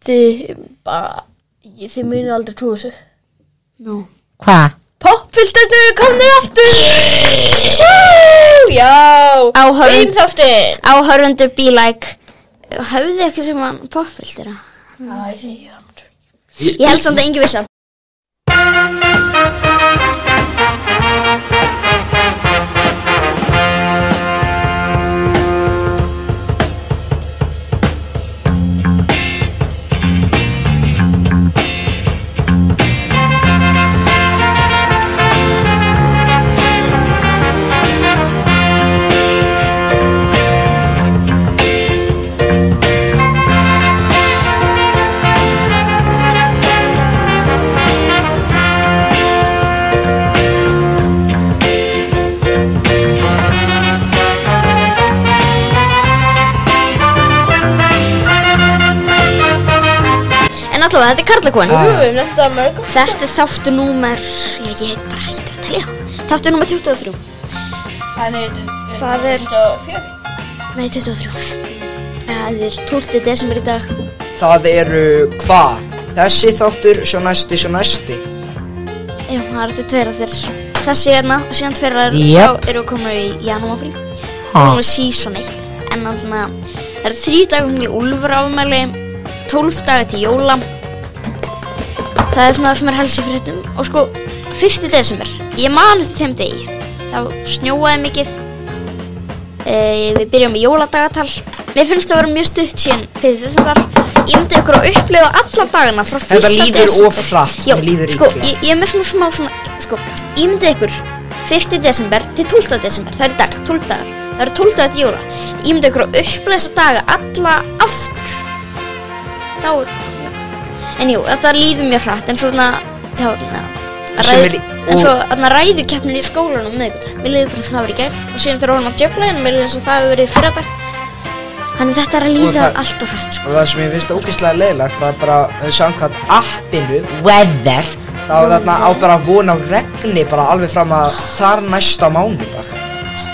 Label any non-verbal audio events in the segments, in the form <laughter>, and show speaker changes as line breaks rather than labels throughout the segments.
þið bara, ég, þið munið aldrei trú þessu.
Nú.
Hva?
Poppfiltarnir eru komnir aftur! Woo! Já!
Áhorfend-
Einn þáttinn!
Áhörundu be like, höfðu eitthvað sem hann popfiltir á?
Æ, þið, já.
Ég held samt að engi vissi það. En allavega, þetta er Karlakon.
Við höfum nefnt að mörgum.
Þetta er þáttu númer, já ég heit bara hættur að telja. Þáttu númer 23.
Þannig,
Það er-
fjör.
Nei, 23. Það er 12. desember í dag.
Það eru hva? Þessi þáttur, svo næsti, svo næsti.
Já, það eru þetta tveir að þér. Þessi hérna, og síðan tveir að þér,
Jep.
þá eru við komin í janúarfrí.
Ha?
Hún er season 1 En alltaf Það eru þrý dagum til úlfur afmæli 12 dagar til jóla Það er svona það sem er helst í fréttum Og sko, 1. desember Ég man eftir þeim degi Það snjóaði mikið e, Við byrjum með jóladagatal Mér finnst það að vera mjög stutt síðan Fyrir þess að var Ég myndi ykkur að upplifa alla dagana frá 1.
Þetta
desember
líður of hratt,
Já,
mér líður
sko,
illa.
ég, ég er með svona smá svona Sko, ég myndi ykkur 1. desember til 12. desember Það er í dag, 12 dagar Það eru 12 dagar til jóla Ég myndi ykkur að upplifa þessa daga alla aftur Þá er En jú, þetta líður mjög hratt En svona, já, svona
Sem
ræð,
er í-
En svo,
og-
þarna ræðu keppnin í skólanum miðvikudag. Mér líður bara eins og það var í gær Og síðan fyrir orðum að djöfla En mér líður eins og það hefur verið í fyrradag Þannig þetta er að líða
það-
allt og hratt sko.
Og það sem ég finnst ógeðslega leiðilegt, það er bara eh, samkvæmt appinu,
Weather
þá er þarna á bara að vona á regni bara alveg fram að þar næsta mánudag.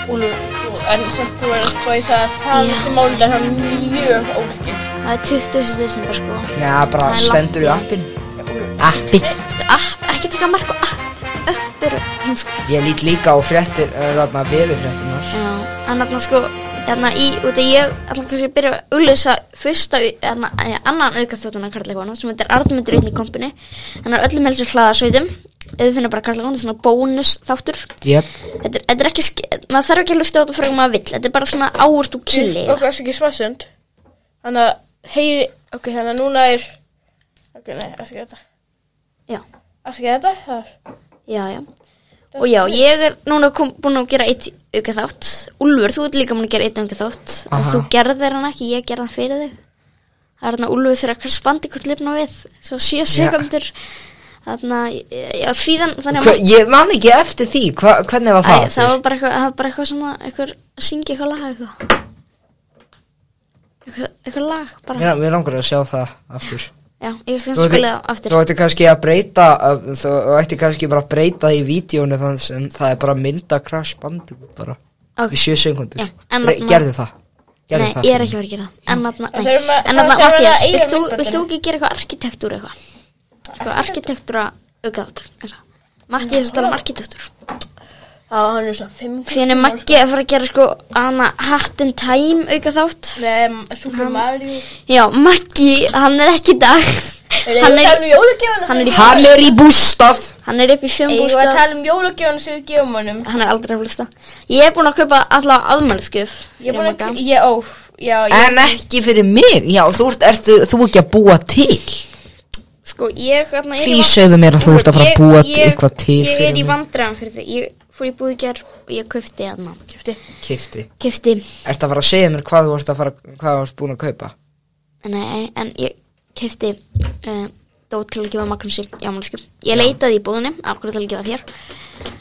Úlfur, en samt þú er svo í það að það
Já.
næstu mánudag hann mjög óskil.
Það er 20. desember sko
Já, bara
Það er
stendur í
langt í.
appinu.
Appi
Þetta app, ekki taka mark á app App eru heimskar
Ég lít líka á fréttir, eh, þarna veðurfréttinar.
Já, en þarna sko Þarna í, út að ég Þarna kannski byrja að auðlýsa Fyrsta, au- þarna, eh, annan auka þóttuna Karlakona Sem heitir Arnmundur einn í kompinni Hann er öllum helstu hlaðasveitum Ef þið finnum bara Karlakona, svona bónus þáttur
Jep.
Þetta er, þetta er ekki, sk- maður þarf ekki að hlusta á þetta Fyrir maður vill, þetta er bara svona áurt og killi
Ok, þessu ekki svarsund. Þannig að heyri, ok, þannig að núna er, ok, nei, afsakið þetta.
Já,
Afsakið þetta, það er.
já, já Og já, ég er núna kom, búin að gera eitt auka þátt Úlfur, þú ert líka búin að gera eitt auka þátt En
Aha.
þú gerðir hann ekki, ég gerði hann fyrir þig Það er hann að Úlfur þegar hvers bandi hvort lifna við Svo sjö sekundur Þarna, já, síðan þannig
Hva, ég man ekki eftir því, hva, hvernig var það?
Æ, það var bara eitthvað, það var bara eitthvað svona eitthvað, að syngja eitthvað lag eitthvað Eitthvað, eitthvað lag bara
Mér, mér langar að sjá það aftur
Já, ég kannski spila það aftur
þú ætti kannski að breyta uh, Þú ætti kannski bara að breyta í vídjónu þannig sem það er bara mynda Crash Bandicoot bara
Ok.
Í sjö sekundur
Já, en
Re-
ma-
Gerðu það Gerðu
Nei,
það
ég er
fyrir
ekki að fara að gera það En þarna,
En
nei,
þurfum að-
en
þá
þarna,
sjáum við
Mattias,
það eigum
vilt þú,
myndbandinu.
vilt þú ekki gera eitthvað arkitektúr eitthvað? Eitthvað arkitektúra aukaðáttur, eitthvað Mattias er að tala um arkitektúr
Já, hann er svona 5
Því hann er Maggi að fara að gera sko hana Hat in Time aukaðátt
Með Super Mario
Já, Maggi, hann er ekki í dag
Hann
Hann
er
er,
um jólagjöfuna
hann er í-
Hann er í bústað
hann er upp í
Ég var að
sjömbústa
tala um jólagjöfuna sem við gefum honum
Hann er aldrei að hlusta Ég er búin að kaupa allavega afmælisgjöf
Ég er
fyrir
búin að,
Magga.
ég, ó, já, ég
En ekki fyrir mig Já, þú ert, ertu, þú ekki að búa til
Sko, ég hérna er í
Því
vand-
segðu mér að þú ert að fara að
Ég-
búa
ég-
eitthvað til
Ég er
fyrir
í
mig
vandræðan fyrir því Ég fór í búð í gerð og ég kaupti aðna
Kjöfti
Kifti
Kaupti,
Ertu að fara að segja mér hvað þú ert að fara Hvað þú ert búin að kaupa
nei, en ég kaupti uh, Dót til að gefa Magnúsi í afmælsku Ég leitaði í búðinni, akkur til að gefa þér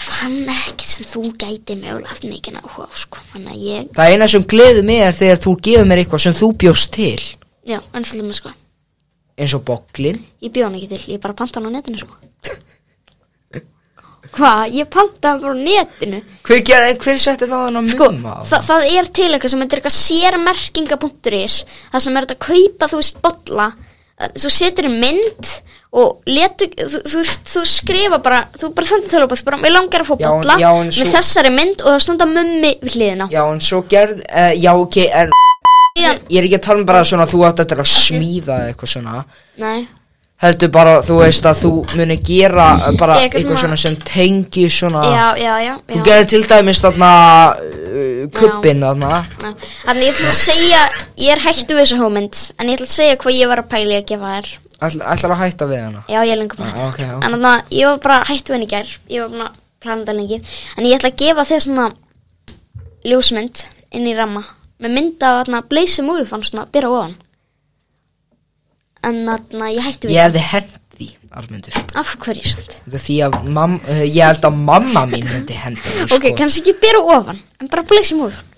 Fann ekki sem þú gæti mögulega haft mikið áhuga á sko Þannig að ég,
Það eina sem gleður mig er þegar þú gefur mér eitthvað sem þú bjóst til
já, en svolítið með sko
eins og boklin
Ég bjóð hann ekki til, ég bara panta hann á netinu
<laughs>
sko Hva? Ég panta hann bara á netinu
Hver, ger, hver setti það hann á
Sko,
mumma?
þa það er til eitthvað sem heitir eitthvað sérmerkinga.is Það sem er þetta að kaupa, þú veist, bolla að þú setur í mynd og letu, þú, þú, þú skrifa bara, þú bara sendir tölvupóst bara, mér langar að fá
Já, en-
bolla
já, en
með
svo-
þessari mynd og þá standa mummi við hliðina
Já, en svo gerð, uh, já, ok, en
Síðan,
ég er ekki að tala um bara svona að þú átt eftir að smíða eða eitthvað svona
nei,
heldur bara, þú veist að þú muni gera eh, bara
Eitthvað
eitthvað
svona-
svona sem tengi svona
já, já, já,
Ah. Þú
já.
gerði til dæmis þarna uh, kubbin þarna
Já. Þannig ég ætla að segja, ég er hættu við þessa hugmynd en ég ætla að segja hvað ég var að pæli að gefa þér
Ætl, Ætlar að hætta við hana
Já, ég er lengur búin
Ah,
að hætta
ok, ok.
En þannig að ég var bara hættu henni í gær Ég var búin að plana þetta lengi En ég ætla að gefa þér svona ljósmynd inn í ramma Með mynd af þarna Blaze Movie fann svona byrja ofan En þannig að ég hættu við
Ég hefði hent því, Armundur
Af hverju samt
Þetta er því að mam, uh, ég held að mamma mín myndi henda því sko.
Ok, kannski ekki byrja ofan En bara Blaze Movie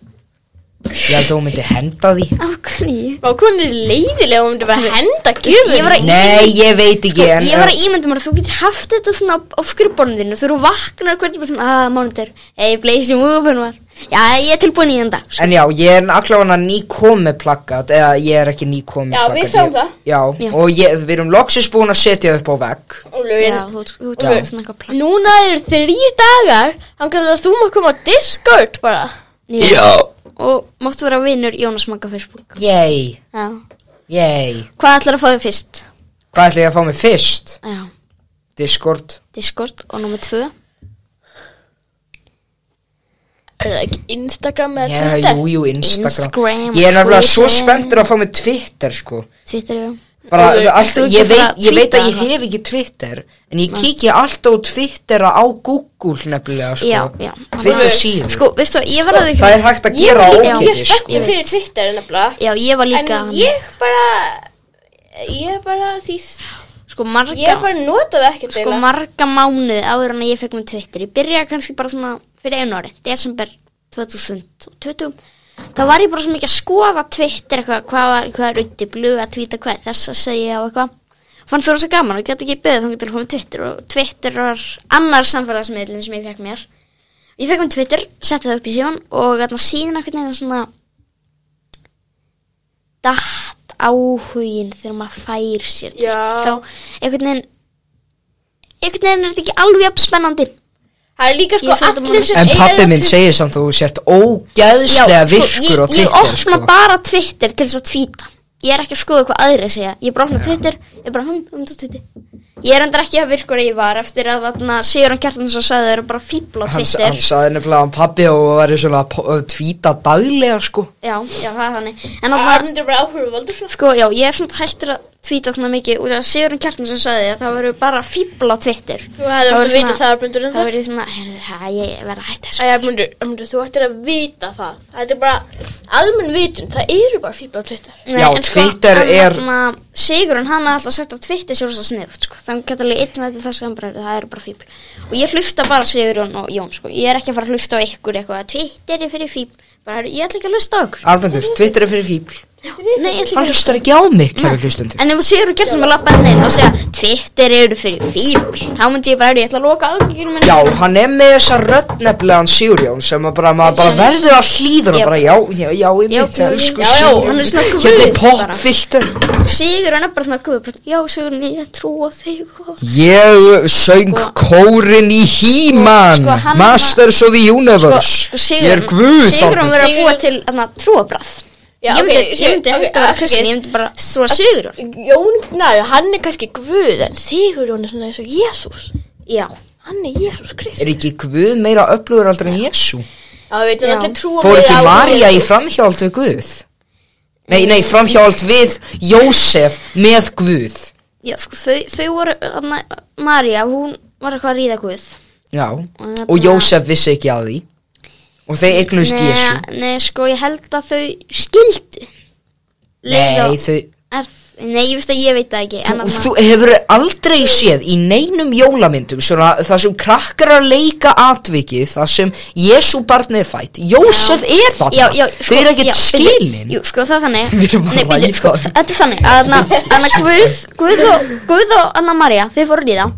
Ég held að hún myndi henda því
Af hverju
Vá, hvað hún er leiðilega, hún myndi bara henda
Ég
gjöfum.
var að
Nei, ég veit ekki en,
Ég var að ímynda mér að þú getur haft þetta svona á- á skrifborðinu þínu Þú eru vaknar hvernig bara svona að mánudur Ei, Blaze Movie var Já, ég er tilbúin í þetta
En já, ég er allavega ný komið plakkat Eða ég er ekki ný komið
Já, við sáum það.
Já,
Já.
og ég, við erum loksins búin að setja það upp á vegg
Og
Já,
lögin.
þú þú ert
Já.
með svona eitthvað plagg
Núna eru þrýr dagar, hann kallar að þú maður koma á Discord bara.
Já Og máttu vera vinur Jónas Magga Facebook
Yay,
Já
yay
Hvað ætlar að fá þig fyrst?
Hvað ætla ég að fá mig fyrst?
Já
Discord
Discord og nummer tvö
Er það ekki Instagram eða
Já,
Twitter?
jú, jú, Instagram,
Instagram,
Ég er nefnilega svo
Twitter.
spenntur að fá mig Twitter, sko
Twitter já
bara,
Þú-
allt,
þú ekki
ég,
bara
veit, ég veit
tweeta
að ég
það?
hef ekki Twitter en ég kíkja alltaf á Twittera á Google nefnilega sko.
Já, já
Twitter
Alveg.
síðu
Sko, veistu, ég var að því
það er hægt að
Ég
gera
var líka mjög
ókipis
spennt
sko.
fyrir Twitter nefnilega.
Já, ég var líka
En ég bara, ég bara því,
Sko, marga
ég bara notaði ekkert
Sko,
eiginlega.
marga mánuði áður en að ég fekk mér Twitter Ég byrjaði kannski bara svona fyrir einu ári Desember 2020 Það var ég bara svo mikið að skoða Twitter eitthvað, hvað var, hvað er undir blu að tvíta hvað, þess að segja og eitthvað Fannst þú rosa gaman og ég gæti ekki beðið þannig til að koma Twitter og Twitter var annar samfélagsmiðlinn sem ég fekk mér Ég fekk mér Twitter, setti það upp í síðan og þarna síðan eitthvað neginn svona datt áhugin þegar maður fær sér Twitter
Já.
þá einhvern veginn einhvern veginn er þetta ekki alveg jafn spennandi
Það er líka sko
Ég er svolítið búin
allir
að-
sem
en
eiga
pabbi minn
Twitter-
segir samt að þú sett ógeðslega
sko,
virkur á
ég, ég
Twitter
opna
sko.
bara Twitter til þess að tvíta ég er ekki að skoða hvað aðri segja ég bara opna Twitter, ég bara hum, hum, það Twitter ég er endur ekki að virkur að ég var eftir að þarna Sigurðan Kjartansson sagði þeir eru bara fíbl á
hann,
Twitter
hann saði nefnilega hann pabbi og var svona að tvíta daglega sko
já, já, það er þannig en
Það
þarna,
myndir bara áhverju valdur svona.
sko, já, ég er svona hættur að tvíta svona mikið út af að Sigurðan Kjartansson sagði að það eru bara fíbl á Twitter
Þú hefði átt að
Þá er
vita
svona-
það, Armundur, en
þá er ég svona, heyrðu, hæ, ég verð að hætta þessu
Æja, Armundur, Armundur, þú ættir að vita það. Þetta er bara almenn vitun, það eru bara fíbla á Twitter.
Nei,
Já,
en sko,
Twitter
hann
er-
þarna- Sigurinn hann hafði alltaf sagt að Twitter sé rosa sniðut sko. þannig gæti alveg einn veit þess að hann bara er það er bara fíbl og ég hlusta bara á Sigurinn og Jón sko. ég er ekki að fara að hlusta á ykkur eitthvað að Twitter er fyrir fíbl bara, heyrðu, ég ætla ekki að hlusta á ykkur
Arbendur, Twitter er fyrir fíbl
Nei, ég
hann
ætla ekki að hlusta
hlustar ekki á mig, kæru hlustundur
en ef Sigurinn gerð sem að lappa henni inn og segja Twitter eru fyrir fíbl þá myndi ég bara, heyrðu, ég ætla að loka aðgjörum
Já, hann er með þessa rödd nefnilega hann Sigurjón sem að bara, maður bara verður að hlýða
Já.
hann bara, já, já, já, ég
Já,
mitt
já,
elsku
já, já,
Sigurjón.
hann er svona guð
Hérna er
bara.
popfilter
Sigurinn er bara svona guð bara, já Sigurinn, ég trú á þig og
Ég söng
Sko-
kórin í He-Man
Sko, hann- Sko,
Masters of the Universe Ég er guð
Sigurinn
þarna.
verður að búa
Sigurjón-
til þarna, trúabræð
Já,
ég myndi,
ok,
ég myndi
ok,
ekki að vera
ok.
kristin ég myndi bara trúa Sigurinn
Jón Gnar, hann er kannski Guð, en Sigurjón er svona eins og Jésús.
já,
Hann er Jésús Krist.
Er ekki guð meira öflugur aldrei en Jésu?
Já, við veitum
Já.
allir trúa
Fór
meira
ekki
á
Marja í
Jesú.
framhjáld við guð? Nei, nei, framhjáld við Jósef með guð
já sko, þau, þau voru þarna, Marja, hún var eitthvað að ríða guð
Já, og Jósef vissi ekki að því Og þeir eignust Jésu
nei, nei, sko, ég held að þau skildu Leið
Nei,
og-
þau
er, nei, ég veist að ég veit það ekki en
Þú,
þarna-
þú hefur aldrei séð í neinum jólamyndum svona það sem krakkar að leika atvikið það sem Jésu barnið er fætt Jósef er þarna
já, já,
þau eru ekkert
já, bíddu,
skilin
Jú, sko, það er þannig
Við erum að
Nei, bíddu,
ræða
sko,
þetta. <laughs>
Þetta er þannig að Anna Guð, Guð og, Guð og Anna Maria Þau fóru líða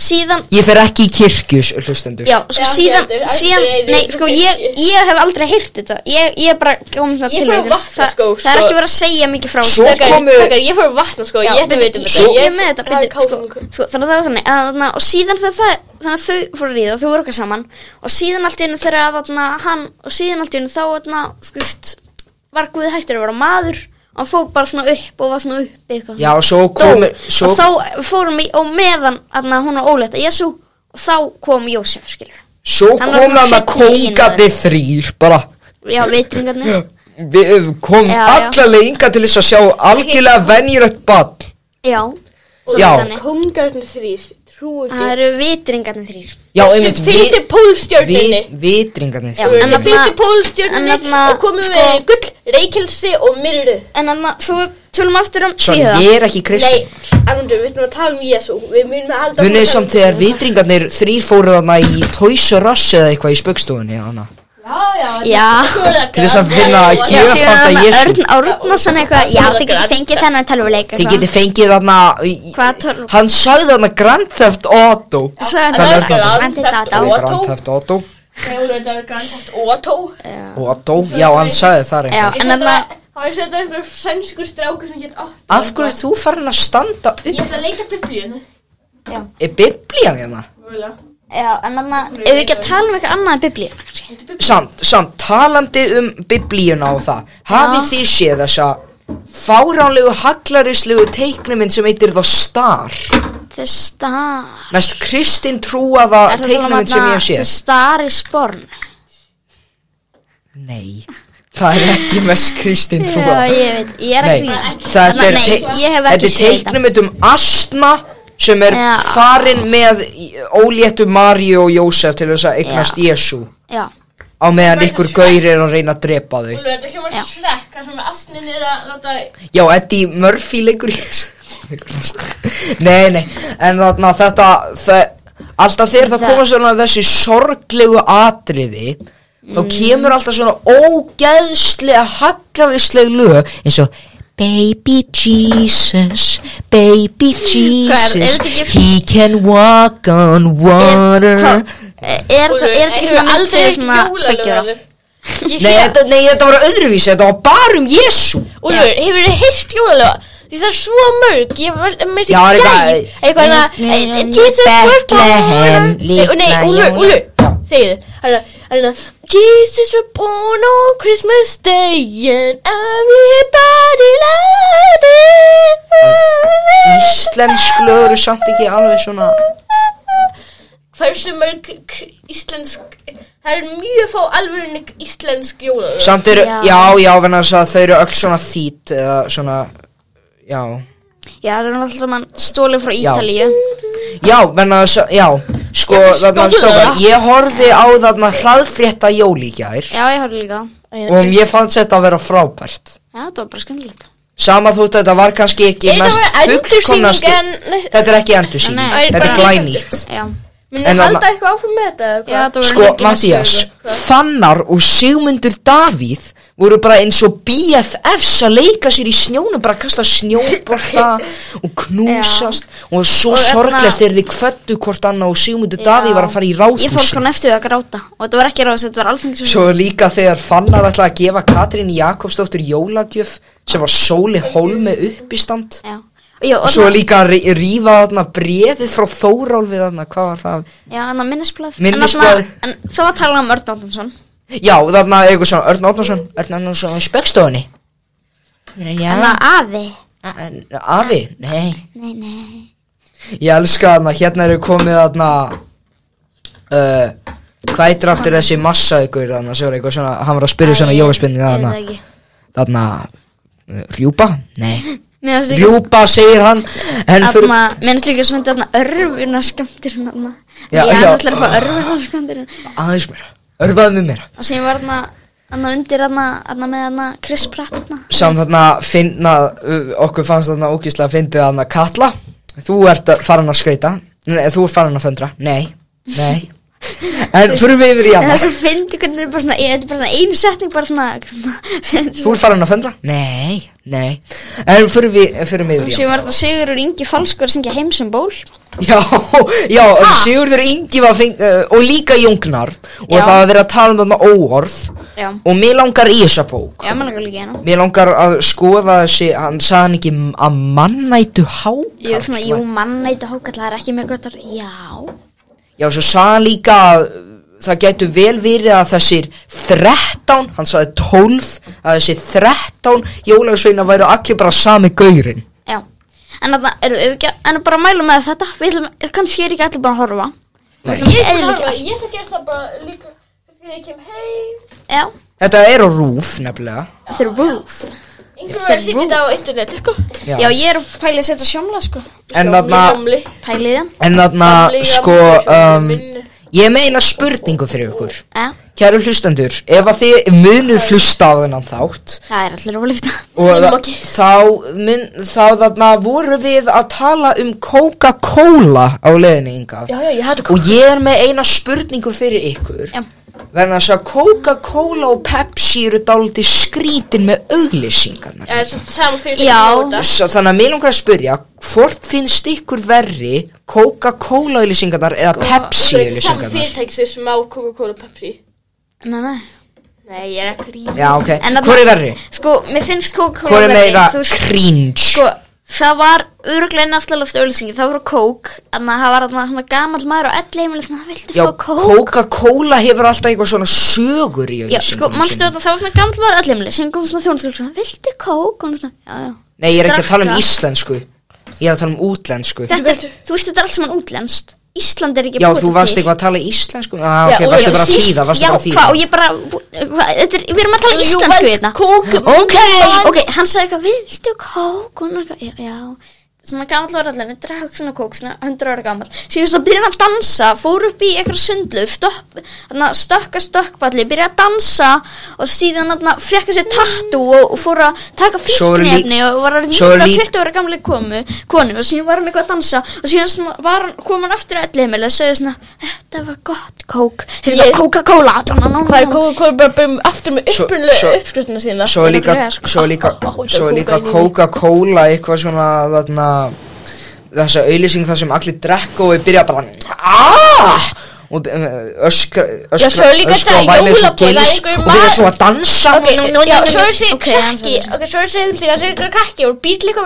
síðan
Ég fer ekki í kirkjus, hlustendur
Já, sko
Já, ekki
síðan,
heldur, aldrei
síðan,
er ég
nei,
í
sko,
kirkju.
ég, ég hef aldrei heyrt þetta Ég, ég bara kom það
Ég
til
fór á
veitum.
vatnaskó,
Það- Það er
svo-
ekki verið að segja mikið frá
Svo-
þessu.
Krakkar,
komu-
krakkar, ég fór að vatna sko,
Já,
ég ætti að
bíddu,
veitum
ég- Ég er með þetta, bíddu, sko, sko, þannig að það var þannig að, þarna, Og síðan þegar það, þannig að þau fóru að ríða og þau voru okkar saman Og síðan allt í einu þegar að þarna, hann Og síðan allt í einu þá, þarna, skust Var Guði hættur að vera maður Og hann fór bara svona upp og var svona upp eitthvað
Já, svo
dó
komur svo,
og þá fórum við og meðan að hún var ólétt að Jésu og þá kom Jósef skilur
svo
hann
koma
var svona
með
seinn í
kóngandi þrýr Bara
já veitringarnir
Við komum
Já, já.
alla leiðinga til þess að sjá algjörlega venjulegt badn
já
Já.
þannig.
Kongarnir þrýr, trú
það
ekki
eru vitringarnir þrýr
Já,
Sem
einmitt vi-
fylgdi pólstjörninni
vi- Vitringarnir
Já,
þrír.
en
Sem
þarna-
fylgdi
en
pólstjörninni
þarna,
og komum
sko-
með gull, reykelsi og myrru
en þannig að svo tölum aftur um
Svo
tvíða
ég er ekki
Nei,
kristinn
Arnundur, við ætlum að tala um Jésu Við munum að halda
Munið
áfram að
þið samt
tala um
þegar vitringarnir þrýr fóru þarna í Toys R Us eða eitthvað í spöggstofunni hana.
Já, já,
Já.
svo er það
Til þess að
gaman.
vinna að
Já,
gera-
síðan
fanta
þarna
Jesú.
Örn Árnason eitthvað já þið getið fengið þennan tölvuleik
Þið getið fengið þarna í-
Hvaða tölv-
Hann sagði þarna Grand Theft Auto
svo er
Hvað er
það
það?
Grand Theft Auto.
Auto.
Grand Theft Auto
Þetta er grannstætt Otto
Auto, já hann sagði það
já
reyndar
En
en þannig að
Það er þetta einhver sænskur strákur sem hétt Otto
Af hverju ert þú farin að standa upp
Ég ætla að leika biblíun
Er biblían hérna?
Þetta
já en þannig að ef við ekki að tala um eitthvað annað en biblíuna kannski
er biblíun
Samt, samt, talandi um biblíuna og það Hafið þið séð þessa fáránlegu haglarislegu teiknuminn sem heitir þá Star
þess það
Mest kristin trúaða
Er það svona
teiknuminn sem ég hef
þarna
séð
Star is Born
Nei, það er ekki mest kristin
Já,
trúaða
ég veit, ég er
Nei,
ekki grínast.
þetta er,
Nei,
te
ég hef
þetta
ekki
er
séð þetta.
teiknumynd um Asna sem er
Já.
farin með í- óléttu Maríu og Jósef til þess að eignast
Já.
Jésu
Já,
á meðan
Mæta
ykkur
Shrek.
gaur er að reyna að drepa þau
Úlfur, þetta hljómar
Já.
srekk, það sem asnin er að láta
Já, Eddie Murphy leikur í <laughs> leikur Asna. Nei, nei, en þarna þetta þe alltaf þegar það
Það-
koma svona þessi sorglegu atriði þá
Mm.
kemur alltaf svona ógeðslega haggarisleg lög eins og Baby Jesus, baby
Hvað er- er
Jesus,
þetta ekki-
he can walk on
er,
water
hva, er, er
Úlfur,
þetta ekki
hefur
svona mynd
aldrei
fyrir
heyrt
svona tveggjara?
jólalög áður? Ég
nei
sé það
þetta, nei, þetta var öðruvísi, þetta var bara um Jésu
Úlfur, hefur þið heyrt jólalög? Því það er svo mörg, ég var með
Já, það er
þessi gæl
eitthvað-
Eitthvað
Litla
hana Jesus was
Bethlehem,
born
litla
Nei, Úlfur,
jóla- Já.
Úlfur, segið þið Þannig að Jesus was born on Christmas Day And everybody loved it
Íslensk lög eru samt ekki alveg svona
Hversu mörg k- íslensk Það er mjög fá alvörinni íslensk jólalög
Samt eru,
Já.
já, já, já vegna þess að þau eru öll svona þýtt eða svona, já
Já, það er alltaf mann stólið frá
Já.
Ítalíu
Já, vegna þess að, já, sko,
Ég er
þarna
stóra.
strókar Ég horfði á þarna hraðfrétta jól í gær
Já, ég horfði líka á það.
og ég fannst þetta að vera frábært
Já, þetta var bara skemmtilegt
Sama þótt þetta var kannski ekki
Þetta
mest
var
fullkomnast
endursýning en-
Þetta er ekki endursýning,
Nei, nei.
þetta er
Bara-
glænýtt
Já,
Minn
En
að
að-
halda eitthvað áfram með þetta eða
já
hvað?
þetta var
Sko, Mattias, Fannar og Sigmundur Davíð voru bara eins og BFFs að leika sér í snjónum, bara að kasta
<laughs>
snjóborta og knúsast og svo
Og hérna- þarna-
sorglegst er þið kvöttu hvort annað og Sigmundur Davíð var að fara í
Ég fór
ráðhúsin
svona eftir að gráta og þetta var ekki ráðs, þetta var alþengis
Svo líka þegar Fannar ætlaði að gefa Katrín Jakobsdóttir jólagjöf sem var sóli hólme uppistand
Já, og já, og
Svo
þarna-
líka að rí- rífa þarna brefið frá Þórólfið þarna, hvað var það?
já, en það minnisblöð En
Minnisblað.
þarna- En það var að tala um Örn Átonsson
Já, þarna er eitthvað svona Örn Árnason, Örn Árnason í spekstofunni Já,
En það afi
A- en- Afi, nei
Nei, nei
Ég elska þarna, hérna eru komið þarna uh, Hvað eitir aftur þessi massa ykkur þarna sem var eitthvað svona, hann var að spyrja svona jólaspinning
Ég veit
þarna,
það ekki.
þarna uh, Rjúpa? Nei
Mér fannst líka-
Rjúpa segir hann En
Þarna,
fyrir
minnst líka sem þetta örfuna skamtir þarna.
Já,
Já,
já.
já. Ég ætlaði að fá örfuna skamtir
aðeins mér, örfaðu með mér
og sem var þarna, þarna undir þarna, þarna með þarna Chris Pratt þarna.
Samt þarna finna, uh, okkur fannst þarna ógislega fyndið þarna Katla Þú ert að- farin að skreita Nei, þú ert farin að föndra, nei,
<laughs>
nei En fyrir við yfir í
En það
annað
er svo fyndi hvernig þetta er bara svona, ég- þetta er bara svona einu setning bara svona, svona
Þú ert farin að föndra? Nei, Nei, en fyrir við, fyrir mig yfir í-
Sem var þetta Sigurður Ingi Falskur að syngja heim sem ból
Já, <laughs> já, Sigurður Ingi var feng, uh, og líka Jóngnar og
Já.
það var verið að tala um þarna óorð
Já,
og mér langar í þessa bók
já, mér langar líka í hana
Mér langar að skoða þessi, hann sagði hann ekki m- að mannætu hákarl
Ég er svona, jú, mannæti hákall, það er ekki mjög gott orð Já,
Já, svo sagði hann líka að uh, það gætu vel verið að þessir 13, hann sagði 12 að þessir 13 jólagsveina væru allir bara sami gaurinn
já En þarna, eru við ekki, en bara mælum með þetta Við ætlum, kannski er ekki allir bara að horfa
Nei.
Við ætlum
Ég
ekki
ætla
eðlilega
að ég ætla að gera það bara líka Þegar ég kem heim
Já,
Þetta er á rúf nefnilega
þurr rúf
Einhver verður að sitja þetta á internet sko.
Já.
Já, ég er pælið að setja sjómla, sko
En þarna,
Gamli,
Pælið það
en þarna
gamli,
sko um,
gamli, gamli.
Ég meina spurningu fyrir ykkur
Já,
Kæru hlustendur, ef að þið munur hlusta á þennan þátt
það er allir að lifta
og
Ég má
þa-
ekki.
þá, mun, þá þarna voru við að tala um Coca-Cola á leiðinni yngað
Já, já, ég hættu
og ég er með eina spurningu fyrir ykkur
Já,
verðan þess að Coca-Cola og Pepsi eru dálítið skrítin með auglýsingarnar
Það er samt saman fyrir
Já.
Svo þannig að mér langar að spyrja hvort finnst ykkur verri Coca-Cola auglýsingarnar eða
Sko,
Pepsi
Saman
auglýsingarnar
fyrirtækis sem á Coca-Cola og Pepsi
nei, nei
Nei, ég er ekki ríð
Já ok,
En þarna-
hvort er verri?
Sko, mér finnst Coca-Cola
Hvort er
verri,
meira
þú veist-
cringe?
Sko, það var öruglega náttúrulega auðlýsingi, það voru kók en það var þarna svona gamall maður á elli heimilis svona, viltu
Já,
fá kók?
Coca-Cola hefur alltaf eitthvað svona sögur í
Já, sko,
auglýsingum
mannstu þetta, það var svona gamall maður á elli heimilis sem kom um svona þjónustur, svona, viltu kók? Og hún svona, já, já.
Nei, ég er ekki að tala um
Drakka.
íslensku Ég er að tala um útlensku
Þetta er, þú veist, þetta er allt sem hann útlenskt Ísland er ekki
Já, þú
búið til.
varst eitthvað að tala íslensku ah,
Já,
Ok,
og
varstu
ég
bara að
skil-
þýða varstu
Já,
bara að þýða.
hvað, og ég bara, hvað, þetta er, við erum að tala íslensku hérna
Kók
Ok,
Ok, hann sagði eitthvað, viltu kók? Og hún var eitthvað, já, já Svona gamall var allan, drakk svona kók, svona 100 ára gamall Síðan svo byrjaði hann að dansa, fór upp í eitthvað sundlu stopp, hana, Stökka stökkballi, byrjaði að dansa Og síðan hana, fekk þessi tattu og, og fór að taka
Svo er lí-
fíknefni Og var að
svo er
nýra
lí-
20 ára gamli komu, konu Og síðan var hann eitthvað að dansa Og síðan svona, var hann, kom hann aftur að ellihimil Og sagði svona, þetta var gott kók Síðan
Ég-
var Coca-Cola
Það er Coca-Cola bara byrjum aftur með
Svo-
upprunalega
svo-
uppskriftina sína
Svo er líka,
Nefnilega, sko.
svo er líka,
Ah, ah, ah,
svo er líka
kókaín.
Coca-Cola eitthvað svona þarna þessa auðlýsing þar sem allir drekka og við byrja bara aaaah og eh, öskra,
Já,
öskra,
svo er líka
öskra
þetta
og væla eins og
jólabóla,
gils
einhver
og
maður-
byrja svo að dansa
Ok, já, svo er þessi
Ok,
krakki
hann-
Ok, svo er þessi auglýsing, þessi ykkur krakki og býr líka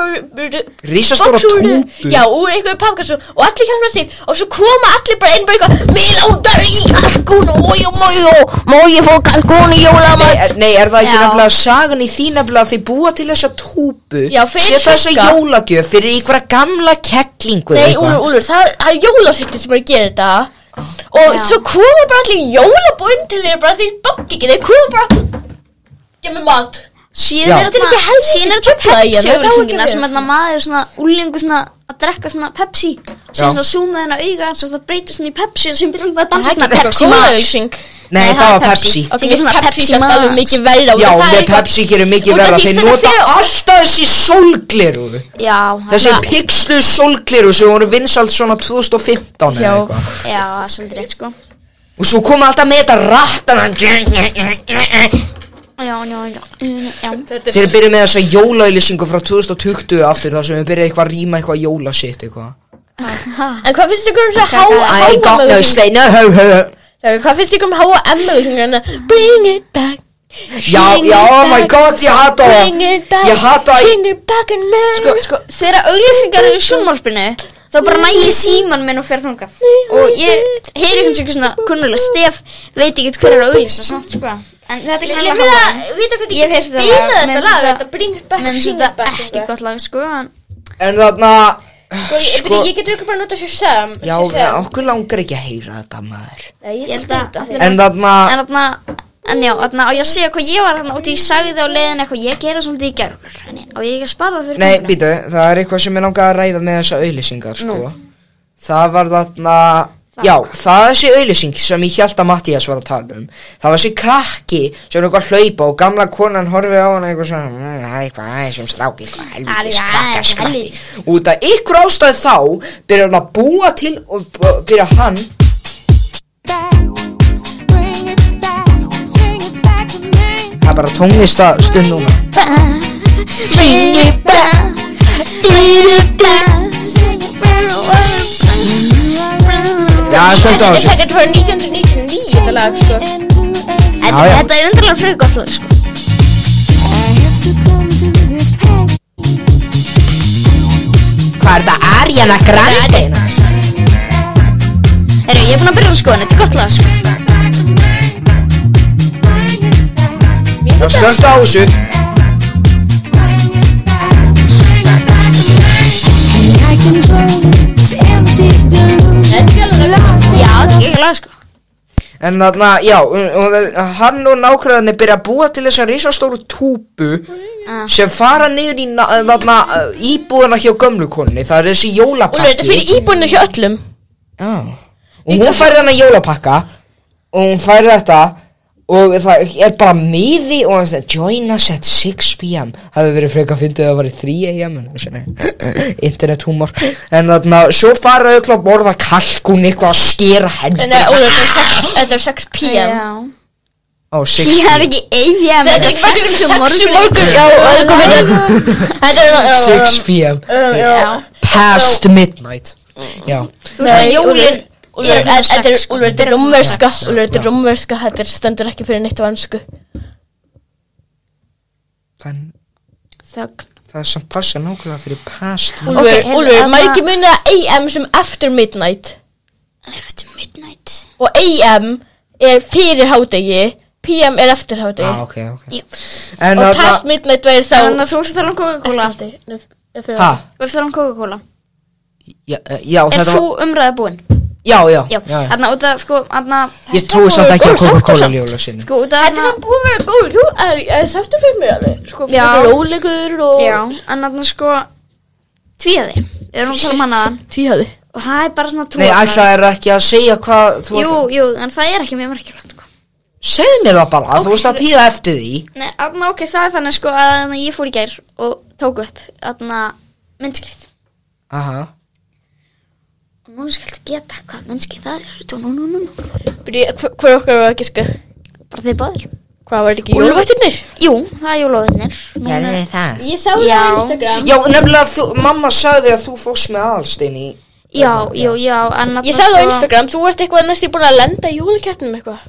Rísastóra túpu.
Já, úr einhverju pakkars og og allir hjálpa sig og svo koma allir bara inn bara eitthvað Mér langar í kalkun og oj og moj og má ég fá kalkun í jólamat
Nei, nei, er það ekki
Já.
nefnilega sagan í því nefnilega að þið búa til þessa túpu
Já, fyrir
setja þessa
Sigga.
jólagjöf fyrir einhverja gamla kettlingu eða
Nei,
eitthvað.
Úlfur, Úlfur, það er- það er jólasektin sem er að gera þetta Og
Já.
svo koma bara allir jólabóinn til þeir bara því banki ekki Þeir koma bara Gef mér mat
Já.
Síðan er
Þetta er ekki helvítis
Síðan er þetta
trufla í henni,
Pepsi
þetta á ekki
auðlýsingina
við.
sem hérna maður svona úlingu svona að drekka svona Pepsi
Já.
sem svona zooma hennar auga hans og það breytur svona í Pepsi sem byrjar að
Þetta
dansa svona
er eitthvað
Pepsi Max
kólaauglýsing.
Nei, það var Pepsi.
Ok, Sem er svona Pepsi
samt
Max.
alveg mikið verða
Já, með Pepsi gerir mikið verða Þeir nota alltaf þessi sólgleru
Já
Þessi
hann-
pixlu sólgleru sem voru vinsalt svona 2015 eða
Já.
eitthvað
Já, það er svolítið rétt sko
Og svo koma alltaf með þetta rattan
Já, já, já, já, já.
Þetta
Þeir byrja með þessa jólaauðlýsingu frá 2020 aftur þar sem við byrja eitthvað að rýma eitthvað jólasitt eitthvað
En hvað finnst ykkur um svo
I ain't got no
háa
stay, no ho ho ho
Hvað finnst ykkur um háa emma Bring it back
Já,
Bring
já,
it
oh my
back.
god, ég hata
Bring
það
it back
Ég hata það
Bring it back and now
Sko, sko, þegar auglýsingar eru í sjónmálspinu þá bara næ ég síman minn og fer þangað og ég heyri hans ykkur svona kunnulega stef, veit ekki hver er að auglýsa samt sko En þetta er
Ég
ekki
meina, vita hvernig
Ég
ég
hef heyrt
spila þetta
þetta lag, mér finnst
lag
þetta-
Þetta bring it back
Menn
bring
þetta
it back
ekki
eitthvað.
gott lag sko en
En þarna
Sko, ég-
Sko-
Ég getur ykkur bara að nota sér sem
Já, okkur langar ekki að heyra þetta maður
Ég
Ég held að allir-
En þarna
En þarna En já, þarna á ég að segja hvað ég var þarna og því ég sagði á leiðin eitthvað Ég gera svolítið í gerur Og ég ekki að spara það fyrir
Nei,
konuna.
býtu, það er eitthvað sem ég langaði að ræða með þessa auðlýsingar, sko Það var þarna Já, það er þessi auðlýsing sem ég held að Mattias var að tala um Það var þessi krakki sem er eitthvað að hlaupa og gamla konan horfið á hana eitthvað svona "Mm, Það er eitthvað aðeins um stráki, eitthvað helvitis
Það er
krakka
aðeins
skratti
helvítis."
Út af ykkur ástæði þá byrjar hann að búa til og b- byrjar hann Það er bara tónlista stund núna
Back Bring it back Bring it back
Já, stönd á
Þetta er
þessu
sækert frá 1999 þetta lag sko
Þetta
Já, já.
þetta er endalega fyrir gott lag sko
Hvað er þetta Ariana Grande? hérna?
Herru, ég er búin að byrja á sko, en þetta er gott lag sko
Já, stönd á þessu
Já, þetta er ekki lag sko
En þarna, já, og það- hann og nákvæðanir byrja að búa til þessa risastóru túpu
Ah.
sem fara niður í na- þarna uh, íbúðina hjá gömlu konunni, það er þessi
Og nú er þetta
jólapakki
fyrir íbúinu hjá öllum
Já, og hún fær þarna jólapakka og hún fær þetta og það er bara miði og hann segir join us at 6pm það hefur verið freka fyndið að það var í 3am en svona, <laughs> internet humor en þarna, svo fara auðvitað að borða kalkun eitthvað að skera hendur
Nei, og þetta er 6 Þetta er 6 p.m.
á 6pm
Ég er ekki eiga
Nei, Þetta er ekki fyrir 6 morgun morgun Já, og þetta kom hérna Þetta er
6 p.m.
Já
Past midnight Já,
Þú veist að
Nei,
jólin
Úlfur, Úlfur,
klukkan
þetta er
sex, sko.
Úlfur, þetta er rómverska Úlfur, þetta er rómverska Þetta er- stendur ekki fyrir neitt á ansku
þann,
Þögn
það er samt passa nákvæmlega fyrir past midnight.
Úlfur,
heyrðu,
Úlfur,
þarna-
maður ekki muna AM sem after midnight
Eftir midnight
Og AM er fyrir hádegi PM er eftir
ah,
hádegi
ok, ok
Já.
En
Og
að
past midnight væri þá
Þannig að þú veist að tala um Coca-Cola Þú
Eftir- nei, fyrir
Ha,
hádegi.
veist að tala um Coca-Cola
já, eh, já,
Er
þetta
þú
var
umræða búin?
Já, já, já,
Já, þarna út að sko, þarna
Ég trúi samt ekki að Coca-Cola ljóla sinni
Sko, út
Þetta
að
er
þarna
samt búið að vera góð Jú, er- ég er sáttur fyrir mér alveg Sko,
Já.
fyrir rólegur
Já,
og
en þarna sko Tvíði, við erum að tala um hanaðan
Tvíhæði
Og það er bara svona trú
Nei, ætla er ekki að segja hvað þú
Jú,
ætlar-
jú, en það er ekki mjög merkilegt sko.
Segðu mér það bara, þú veist að píða eftir því
Nei, þarna ok, það er þannig sko að þarna ég fór í gær og tók upp þarna myndskrið
Aha
og núna skaltu geta hvað myndski það er Þú, nú, nú, nú, nú.
Hver okkar var að giska?
bara þeir báðir
Hvað var þetta ekki
Úlfur-
jóluvættirnir?
Jú, það er jólóðinir
það
Ég sá
Já.
það á Instagram
Já, nefnilega, þú, mamma sagði að þú fórst með aðalstein í
Já, jú, já en þarna
Ég sagði á
sko-
Instagram, þú ert eitthvað næst í búin að lenda í jólakeppnum eitthvað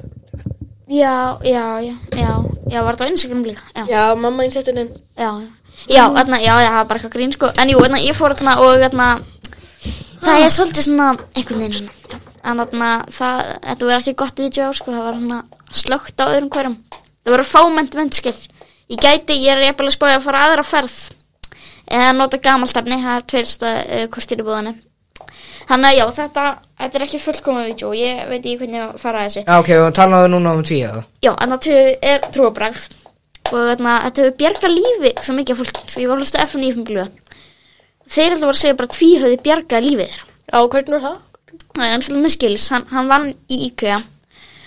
Já, já, já, já, já, var þetta á Instagram líka Já, já,
Já, mamma eins þetta nefn
já, já, þarna, já, já, það var bara eitthvað grín sko En jú, þarna, ég fór þarna og þarna Það er svolítið svona einhvern veginn svona já. En þarna, það, þetta verður ekki gott vídeo sko Það var svona slögt á öðrum hverjum Það voru fámennt myndskið Ég gæti, ég er jafnvel að spája að fara aðra ferð Eða nota gamalt efni Það er tveir stöð uh, kostir í búðinni Þannig að já, þetta, þetta er ekki fullkomið vídeo Ég veit ekki hvernig ég á að fara að þessu
Já, ok, við talaðu núna um tvíða
Já, en það er trúabræð og þarna, þetta hefur bjargað lífi svo mikið af fólki, svo ég var hlust að FNÍ fyrir blöða. Þeir alltaf voru að segja bara tví höfði bjargað lífið þeirra.
Já, hvernig var það?
Nei, En svolítið með skils, hann, hann vann í IKEA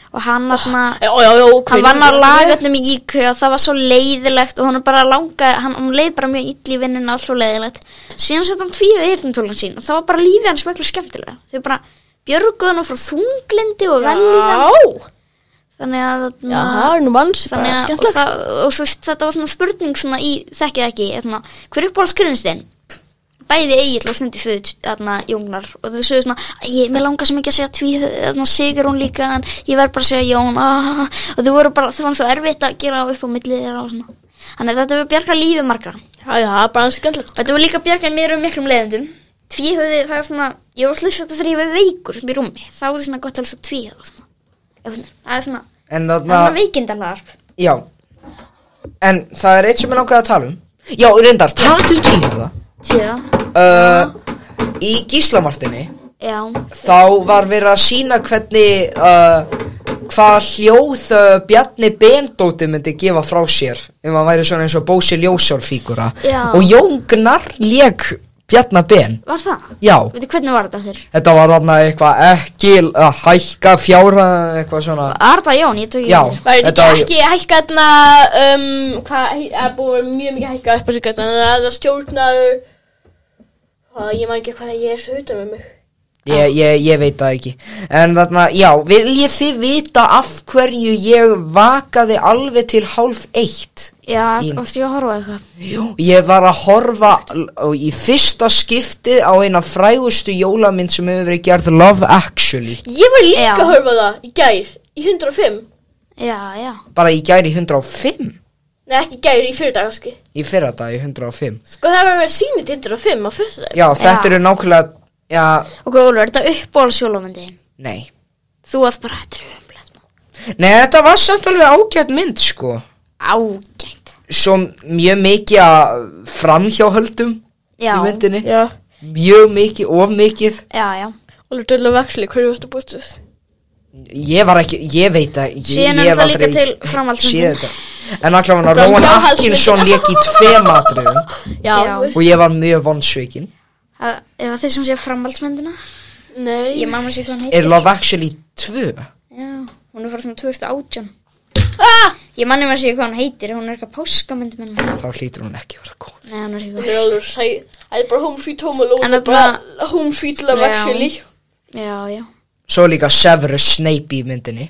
og hann, þarna,
Já, já, já,
hann vann á lagarnum í IKEA og það var svo leiðilegt og hann bara langaði, hann, hann leið bara mjög illi í vinnunni allt svo leiðilegt. Síðan sett hann tvíðið eyrnatólun sín og það var bara lífið hans miklu skemmtilega. Þau bara björguðu hann frá þunglindi og velliðan.
Já,
Þannig að þarna-
já, það er nú manns
þannig að og,
skemmtilegt
það, og svo, þetta var svona spurning svona í þekkið ekki þarna, hver uppáhalds grunnstin bæði Egil og Stendi þau þarna Jónar og þau sögðu svona ég, mér langar sem ekki að segja tví þarna sigur hún líka en ég verð bara að segja Jón ah, og þau voru bara, það var svo erfitt að gera upp á millið þeirra og svona þannig að þetta var bjarga lífi margra og
Já, já, það er bara skemmtilegt
þetta var líka bjarga mér um miklum leiðendum tví höfði það er svona ég var slust þetta þegar ég var veikur í rúmi þá er svona gott að hlusta tví og svona Einhvern veginn. það er svona,
En
það
þarna
er svona veikindalarp
Já En það er eitt sem ég langaði að tala um Já, reyndar, talandi um tíma
tvíða
það uh, Í Gíslamartinni
já
Þá var verið að sína hvernig uh, Hvað hljóð uh, Bjarni Bendóti myndi gefa frá sér Ef hann væri svona eins og Bósi Ljósjálfígura
Já.
Og Jóngnar lék Bjarna Ben
Var það?
Já,
Veitu hvernig var þetta þér?
þetta var þarna eitthvað ekki að hækka fjára eitthvað svona
Arda Jón, ég tók ekki
Já.
eftir.
Var
Þetta
þetta
var-
ekki ekki hækkaðna, um, hvað, hei- það er búið mjög mikið hækkað upp á sig gætna, þannig að það stjórnaður, hvað, ég maður ekki hvað ég er svo utan með mig.
Ég, ég, ég veit það ekki En þarna, já, viljið þið vita af hverju ég vakaði alveg til hálf eitt?
Já,
Í-
og því að horfa á eitthvað
Jú, ég var að horfa l- í fyrsta skiptið á eina frægustu jólamynd sem hefur verið gerð Love Actually
Ég var líka
Já.
að horfa á það í gær, í 105.
Já, já
Bara í gæri 105
Nei, ekki í gær, í fyrirdag, sko.
Í fyrra dag í 105
Sko, það var að vera sýnit 105 á fyrirdag.
Já, þetta
Já.
eru nákvæmlega, já,
Ok, Ólfur, er þetta uppbólsjólamöndin?
nei
Þú að bara þetta er umlega
Nei, þetta var samt alveg ágætt mynd, sko
Ágætt
Svo mjög mikið að framhjáhöldum
Já,
í myndinni
Já.
Mjög mikið, of mikið
já, já
Ólur Dölla Vaxli, hverju varstu búist við?
Ég var ekki, ég veit að ég,
Síðan
ég
er
hef
náttúrulega
aldrei
líka til framhaldsmyndin.
séð þetta. En allavega
Fram-
Róan
framhaldsmyndin.
Atkinson lék í tveim atriðum
Já,
Já.
þú veist.
Og ég var mjög vonsvikin
Það það var þeir sem sé framhaldsmyndina
Nei.
Ég mamma sé hvað hann heitir
Er Love Actually 2?
Já, hún er frá svona 2018
Ah!
Ég manni maður sé hvað hann heitir Hún er eitthvað páskamyndum minna
Þá hlýtur hún ekki að vera góð
Nei, hún er ekki
Það er alveg sæð. Það er bara home feet home alone.
En
Það er bara home feet love
Já.
actually.
góð Já, já
Svo er líka Severus Snape í myndinni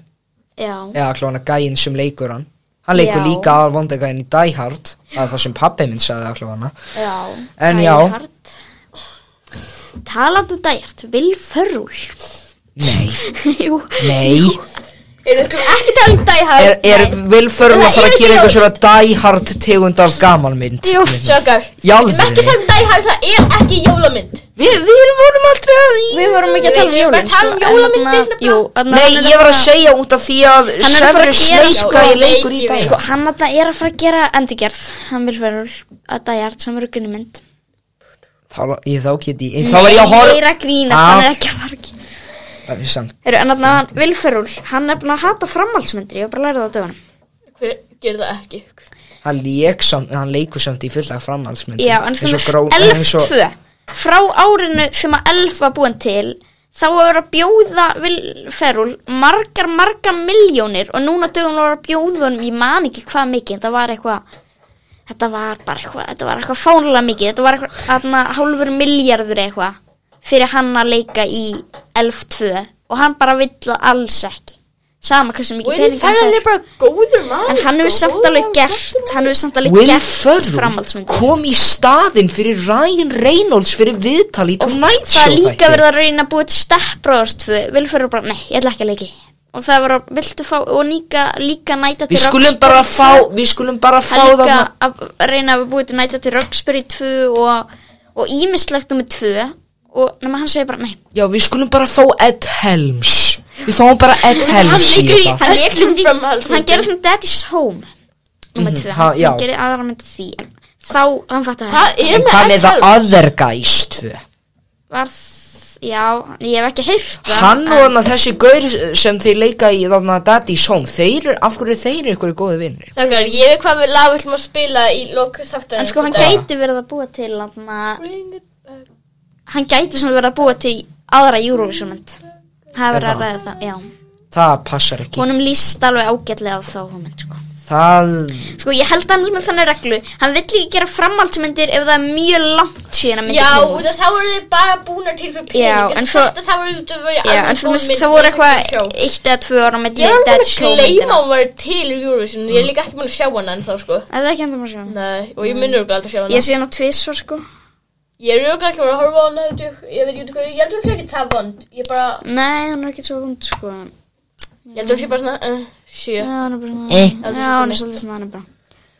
Já,
Eða allavega gæinn sem leikur hann Hann leikur
Já.
líka aðal vondegæinn í Die Hard Það er það sem pabbi minn sagði allavega
já
En
Die
já.
Hard. Talandi um dæjart Vil Ferrúl
Nei,
<laughs> Jú
nei
Eru þið ekki talað um Die Hard?
Er, er vilförum
Það
að fara
er
að gera
bjór.
eitthvað svona Die Hard tegund af gamalmynd
Jú.
Sjökar.
Í alvöru?
Við erum ekki talað um Die Hard, það er ekki jólamynd.
Við, við vorum aldrei að í
Við vorum ekki að tala um
Við
hérna.
erum bara
jólin
að tala um jólamyndir, nefnilega.
Nei, ég var að segja út af því að
Hann er að fara að
Severus
gera
Snape
sko-
gæi leikur í
leiki
dag
við-
Sko, hann þarna er að fara að gera endurgerð Hann vil vera að dæjart sem eru gunni mynd
Þá, ég, þá get ég, þá var ég að
Ég er
horfa
að grínast,
Ah.
hann er ekki að fara að gera
Það er samt.
Eru, en þarna hann, Vilferúl, hann er búin að hata framhaldsmyndir, ég var bara að læra það á dögunum.
Hver gerir það ekki?
Hann, leik samt, hann leikur samt í fulla framhaldsmynd
Já, en svona elf tvö, frá árinu sem að elf var búin til, þá er að bjóða Vilferúl margar, margar miljónir og núna dögunum var að bjóða honum, ég man ekki hvað mikið, það var eitthvað, þetta var bara eitthvað, þetta var eitthvað fánulega mikið, þetta var eitthvað, þarna hálfur miljardur eitthvað fyrir hann að leika í elf tvö og hann bara vill það alls ekki. Sama hversu mikið
Will
pening hann
Ferrell
fær.
er bara góður maður.
En hann hefur
sko,
samt
góður
alveg
maður,
gert,
flottur maður.
hann hefur samt alveg
Will
gert
Ferrell
framhaldsmynd.
kom í staðinn fyrir Ryan Reynolds fyrir viðtal í Tonight
Það
Show
er líka
þætti.
verið að reyna að búa til steppbróðars tvö, Will Ferrell bara, nei, ég ætla ekki að leiki. Og það var að, viltu fá, og líka, líka næta til
Við skulum bara fá, við skulum bara fá
Það er líka
þarna
að reyna að búa til næta til Roxbury tvö og, og ímislegt nummer tvö. Og nema hann segir bara, nei,
Já, við skulum bara fá Ed Helms Við fáum bara Ed Helms í
leikur í-
þetta
hann leik sem því,
Framhaldsmyndin.
hann gerði svona Daddy's Home, nummer tvö,
ha, já.
hann gerði aðra mynd af því. En þá, hann fattaði það.
Hvað er
En
með
hvað með
Ed
það
Helms?
Other Guys 2?
Var, þ- já, ég hef ekki heyrt það.
Hann
en-
og hann þessi gaur sem þeir leika í þarna Daddy's Home Þeir eru, af hverju þeir eru ykkur góði vinnir?
Þakar, ég veit hvað við lag við ætlum að spila í loku þáttan.
En sko hann gæti verið að búa til hann, hann gæti sem verið að búa til aðra Eurovisionmynd Það er verið að
það?
ræða það, já
Það passar ekki
Honum líst alveg ágætlega á þá hugmynd sko.
Það,
sko ég held að hann er með þannig reglu Hann vill ekki gera framhaldsmyndir ef það er mjög langt síðan að myndi
Já,
kom
út
út
af þá voru þið bara búnar til fyrir pening.
en
en
svo-
Þetta þá voru þið að vera
Já, en þú veist, það voru eitthvað eitt eða tvö ára með
Ég er alveg
Daddy's
búin
Home
að gleyma
myndina.
að hún var til í Eurovision. Ég er líka ekki búin að sjá hana en þá sko.
Það er ekki enda maður sjá
Nei, og ég minnur ekki aldrei að sjá hana.
Ég sé hann á tvisvar sko
Ég er auðvitað ekki að vera að horfa á hana, veit ég, ég veit ekki hvað, ég held að hún sé ekki það vond. Ég bara,
Nei, hann er ekki svo hund sko
ég
Já,
held að hún sé bara svona, uh, sjö.
hann er bara svona
Eh.
Já, hann er svolítið svona, hann er bara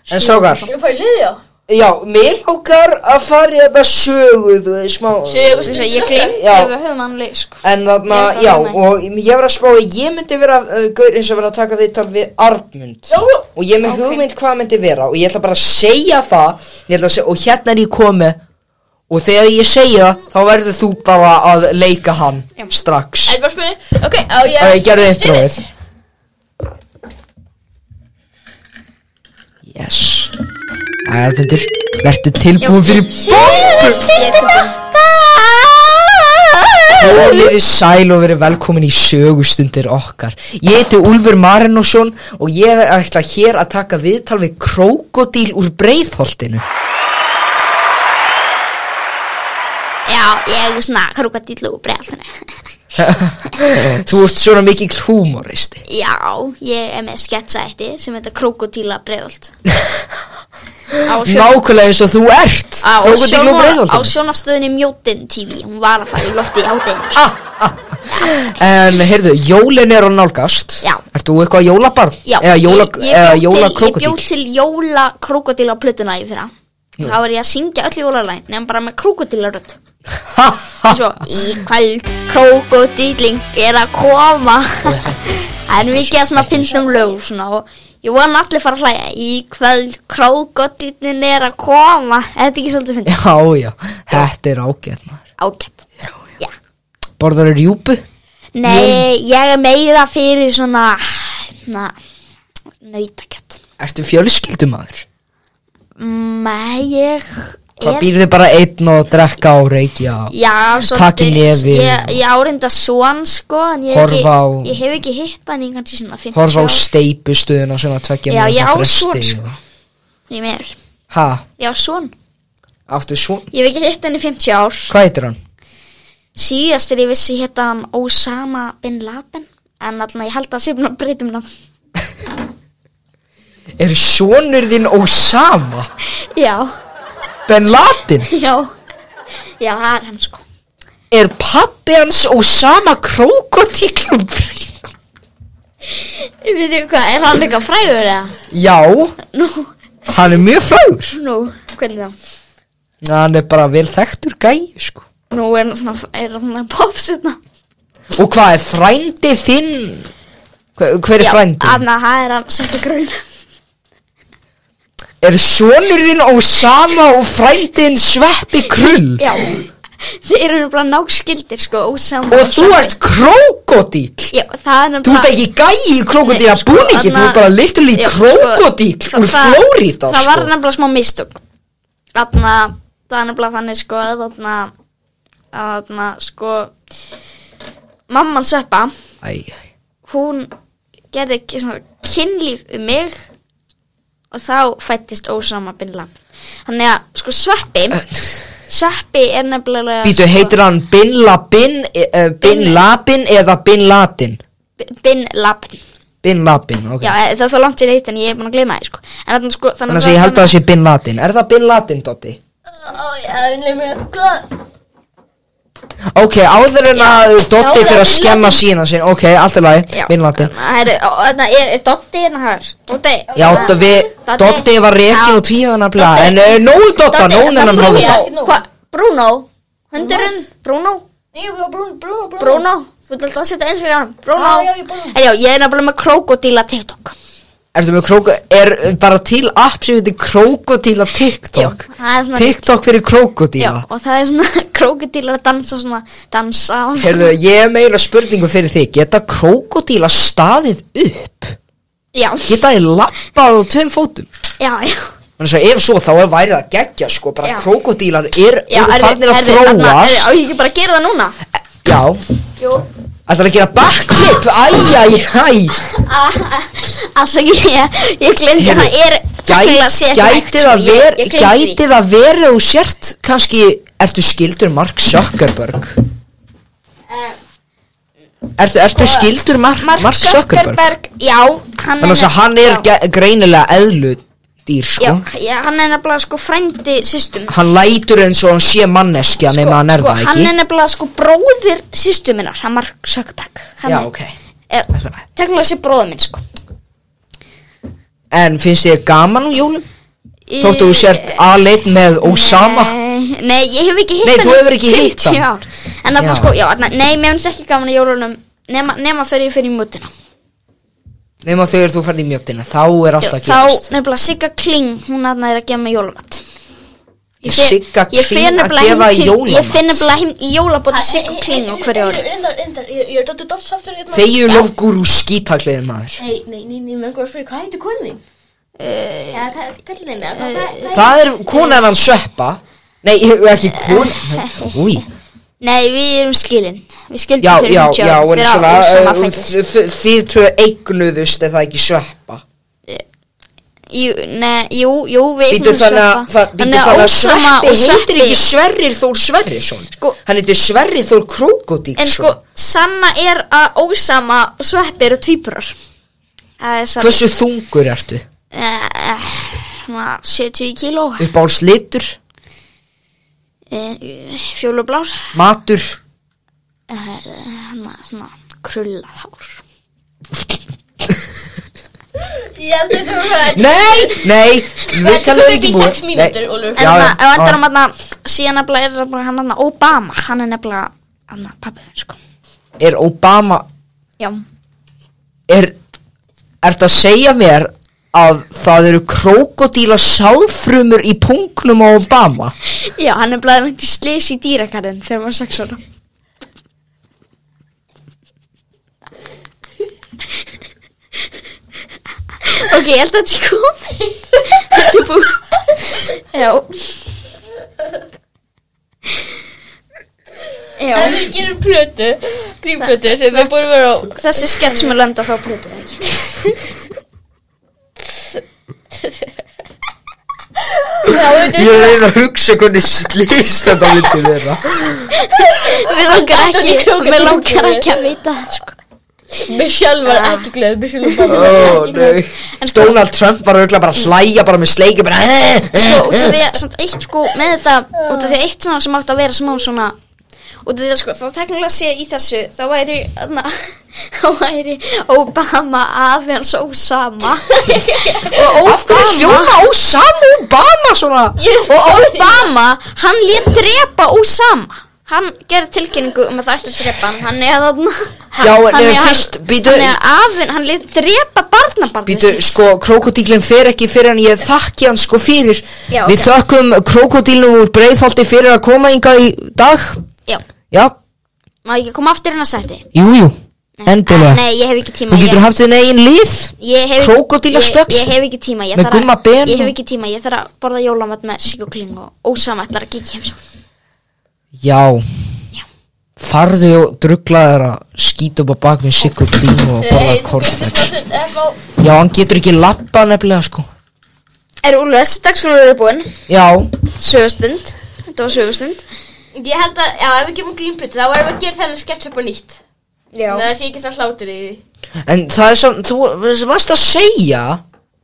en strákar
Ég fær liðið á.
Já, mér hókar að fara í þetta sögu, þú veist, smá
Sögur
Þú veist að ég gleymdi
Já.
að við höfum hann leik sko
En þarna,
Ég er það
já,
með.
og ég var að spá að ég myndi vera uh, gaur eins og vera að taka viðtal við Arnmund
Já, já.
Og ég er með hugmynd hvað myndi vera og ég ætla bara að segja það ég ætla að segja, Og hérna er ég komi Og þegar ég segja það, þá verður þú bara að leika hann
Já.
strax
Það er bara spurning, ok, á ég
Og ég gerði intróið Yes Arnmundur, verður tilbúin fyrir
Ég tók hann
og verið sæl og verið velkomin í sögustundir okkar Ég heiti Úlfur Marinósson og ég er ætla hér að taka viðtal við <laughs> krokodíl úr breiðholtinu
Já, ég svona krúka dillu og brellinu
Þú ert svona mikil húmoristi
Já, ég er með sketsætti sem heita Krokodíla Breiðholt Á sjón-
Nákvæmlega eins og þú ert Krókódíl
á
Ah, og
sjónvar- Á
breiðholtum
sjónastöðinni Mjótin TV Hún var að fara í lofti á deginu
En heyrðu, jólin er á nálgast
Já.
Ert þú eitthvað jólabarn?
Já,
Eða jóla,
ég,
eða
ég, bjó
jóla
til, ég bjó til jóla krokodíla plötuna í fyrra Þá var ég að syngja öll jólalæn Nefn bara með krokodílarödd
til <laughs>
Svo í kvöld krokodíling er að koma <laughs> Það er mikið að svona fyndum lög svona, og Ég vona allir fara að hlæja Í kvöld krokodílin er að koma Er Þetta ekki svolítið fyndið
Já, já, þetta er ágætt maður
Ágætt Já
Borðar er rjúpu?
Nei, ég er meira fyrir svona hérna, na, nautakjött
Ertu fjölskyldumadur?
Nei, ég
Hvað
er
býrðu bara einn og drekka og reykja?
Já, svolítið
Taka í nefið.
Ég, ég áreinda svon, sko En ég, hef
Horfa á-
ekki, ég hef ekki hitt hann í kannski svona 50
Horfa á
ár.
steipustuðin og svona tveggja
Já, ég á
mínútna
son,
fresti
sko.
og-
Ég meður
Ha,
Já, svon
áttu svon?
Ég hef ekki hitt hann í 50 ár
Hvað heitir hann?
Síðast er ég vissi hitt hann Osama Bin Laden En allan ég held að um sérfna breytum hann
Er sonur þinn Osama?
Já,
Ben Laden?
já Já, það er hann sko
Er pappi hans Osama krókotíklum?
Ég veit ekki hvað, er hann eitthvað frægur eða?
Já,
Nú,
hann er mjög frægur
Nú, hvernig þá?
Hann er bara vel þekktur gæi, sko
Nú er hann svona, er hann svona hérna. popsirna
Og hvað er frændi þinn? Hver, hver er frændi?
Anna, það er hann sett í grun
Er sonur þinn Osama og frændin Sveppi Krull? <laughs>
Já Þeir eru bara náskildir sko, ósam
Og þú ert krókodíl
Já, það er
Þú ert ekki gæi í krókodíla
Nei, sko,
búningi Þú
þarna-
ert bara literally
Já, sko,
krókodíl
það-
úr
það-
Flórída,
Það var
sko
nefnilega smá mistök Þarna, það er nefnilega þannig sko að Þarna, að þarna sko Mamman sveppa
Æ, æ.
Hún gerði ekki svona kynlíf um mig Og þá fættist ósama bin Laden Þannig að sko sveppi Sveppi er nefnilega sko,
Býtu, heitir hann Bin Labin eh, Bin
Bin-
Labin eða Bin Laden?
Bin Laden
Bin Labin, ok
Já, eh, það er svo langt sér heitt en ég er búin að gleyma þið sko. En þannig sko
Þannig að ég held að það sé Bin Laden Er það Bin Laden, Dotti? Ok, áður en
Já.
að Dotti
Já,
fyrir að
Bin
skemma
Laden.
sína sín Ok, allt er lagi, Bin Laden
Það er, er Dotti hérna hér Dotti
Já, Doddi- við,
Doddi.
Dotti var
Já.
rekin og tvíðan að blaða
Doddi.
En eh, nógu Dotta,
Doddi,
nógu
það
þennan
Bruno.
hálfa
Ekki nú.
Hva? Bruno Hundurinn Bruno
Ég var brún, brún, brún
Bruno Þú ert alltaf að setja eins við hann Bruno
Já, já, ég er Bruno.
En já, ég er nefnilega með krokodíla TikTok
Ertu með króko, er bara til app sem heitir krókodíla TikTok
Já, það er svona-
TikTok fyrir
Já,
krókodíla
og það er svona <laughs> krokodílar að dansa svona Dansa og-
Herðu, ég er meira spurningu fyrir þig Geta krókodíla staðið upp?
Já,
Geta þið lappað á tveim fótum?
já, já
Þannig að ef svo þá er værið að gegja sko Bara
Já.
krókodílar er,
Já,
eru farnir að
þarna, herðu, á
þróast
ég ekki bara að gera það
<laughs>
núna?
Já,
Jú
ætlar að gera backflip Æj, æj, æj
Ah, Afsaki, ég, ég glemdi
Heyrðu,
það er tæknilega sé
Gæ-
ekki hægt,
Gæti
sko,
það
ég-
ver,
ég gleymdi
gæti
því.
það verið þú sért kannski Ertu skildur Mark Zuckerberg?
Eh,
Ertu, ertu
Sko,
skildur Mark, Mark, Zuckerberg?
Já, hann
Þannig að hann er
já,
ge- greinilega eðludýr
já,
sko
já, hann er nefnilega sko frændi systum
Hann lætur eins og hann sé manneskja nema hann er
sko,
það
Hann
ekki
er nefnilega sko bróðir systuminnar Hann Mark Zuckerberg hann
Já,
er-
ok
er,
Þetta er það.
Teknilega sé bróðir minn sko
En finnst þér gaman á jólum?
Í-
Þóttu þú sért aðleitt með Ósama
Nei, Eh, nei, ég hef ekki hitt
Nei,
hann
þú
í
hefur ekki hitt
50
hann.
ár. En þarna
Já.
sko, já, þarna- nei, mér finnst ekki gaman að jólunum Nema, nema fyrir ég fyrir í mútuna
Nema þegar þú ferð í mjötina Þá er
Já,
alltaf að
þá
gerast
nefnilega Sigga Kling hún hann er að gefa mig jólamat Ég fer-
Sigga
ég fer
Kling að
nefnilega heim
gefa
til-
jólamat.
ég finn nefnilega heim í jólabóti Sigga Kling á hverju ári
eh, Ég er dottur dottsaftur hérna
Þegju lofgúrú skítakleðið maður
Nei, nei, nei, nei, mér einhver að spyrja, hvað heitir konin þín? Já, hvað kallir henni? Hvað- hvað- hvað-
Það er konan hann sveppa Nei, ég- ekki kon Úi,
nei við erum skilin við skildum
já,
fyrir
já,
fimmtíu
já
árum
En
þegar
svona, eh,
Ósama
uh,
fæddist.
þ- þ- þið tvö eignuðust eða ekki sveppa
Jú, ne, jú, jú, við
Býtu
eignumst
þannig að,
sveppa.
það- býtu þannig að
Ósama
Sveppi
og
heitir ekki
Sveppi-
Sverrir Þór Sverrisson
Sko-
Hann heitir Sverrir Þór
En
Krókodíksson
sko, sanna er að ósama og sveppi eru tvíburar Það er sann
Hversu þungur ertu?
uh, 70 kíló
Uppáhalds litur,
uh, Fjólublár
matur
uh, Svona krullað hár
Ég held að þetta var rætt.
Nei, nei, við
Þetta
talum
tók
ekki
í
búið
sex mínútur, Ólfur.
En það, á endanum hann að Síðan nefnilega er nefnilega hann hann Obama Hann er nefnilega hann að pappi sko.
Er Obama
Já,
Er Ertu að segja mér að það eru krókodíla sáðfrumur í pungnum á Obama?
Já hann er nefnilega hann í slis í dýrakarinn Þegar hann var 6 ára Ok, ég held að þetta sé komið Þetta er búið Já Já
Ef við gerum plötu, grímplötu sem við búum að vera á
Þessi skets með lenda frá plötu eða ekki
Ég er að reyna að hugsa hvernig slýst þetta myndi vera
Við langar
datt
ekki,
út í krókódíl.
við langar ekki að veita það sko
Michelle var ekki glöð, Michelle var bara
Ó, Ah. Oh, nei
En sko-
Donald Trump var auðvitað bara að hlæja bara með sleiki bara "Eh,
Sko, út af því að samt eitt sko með þetta Út af því að eitt svona sem átti að vera smá svona Út af því að sko, þá teknilega sé í þessu Þá væri, na, <laughs> þá væri Obama afi hans Ósama
Af hverju hljóma Ósama Obama svona?
Og Obama, hann lét drepa Ósama Hann gerði tilkynningu um að það ætti að drepa hann Hann er þarna
Já, en
hann er-
ef fyrst- býtu-
Hann er afinn, hann lét drepa barnabarnið
Býtu,
sitt.
sko, krokodílinn fer ekki fyrir hann, ég þakki hann sko fyrir
Já,
Við
ok.
þökkum krokodílnum úr breiðholti fyrir að koma hingað í dag
Já,
Já,
má ég ekki koma aftur inn að sætti
jú, jú, endilega
Mm. Ah, Nei, ég hef ekki tíma
Þú getur
ég,
haft þinn eigin lið
ég hef,
Krókódílastöfl?
Ég, ég hef ekki tíma ég
Með
þarf að-
gumma ben
Ég hef
og-
ekki tíma, ég þarf að borða jólamat með Sigg og Kling og ósama ætlar að kíkja heimsó
Já
Já.
Farðu og drugglaðu þér að skýta upp á bak með sikku klínu og borða korflex Já, hann getur ekki lappa nefnilega sko
Er Úlfur, þessi dagskrúnur eru búin
Já,
Sögustund, þetta var sögustund
Ég held að, já, ef við gerum grímplötu þá erum við að gera þennan sketch upp á nýtt
Já
Þannig að það sé ekki það hlátur í því
en það er samt, þú varst að segja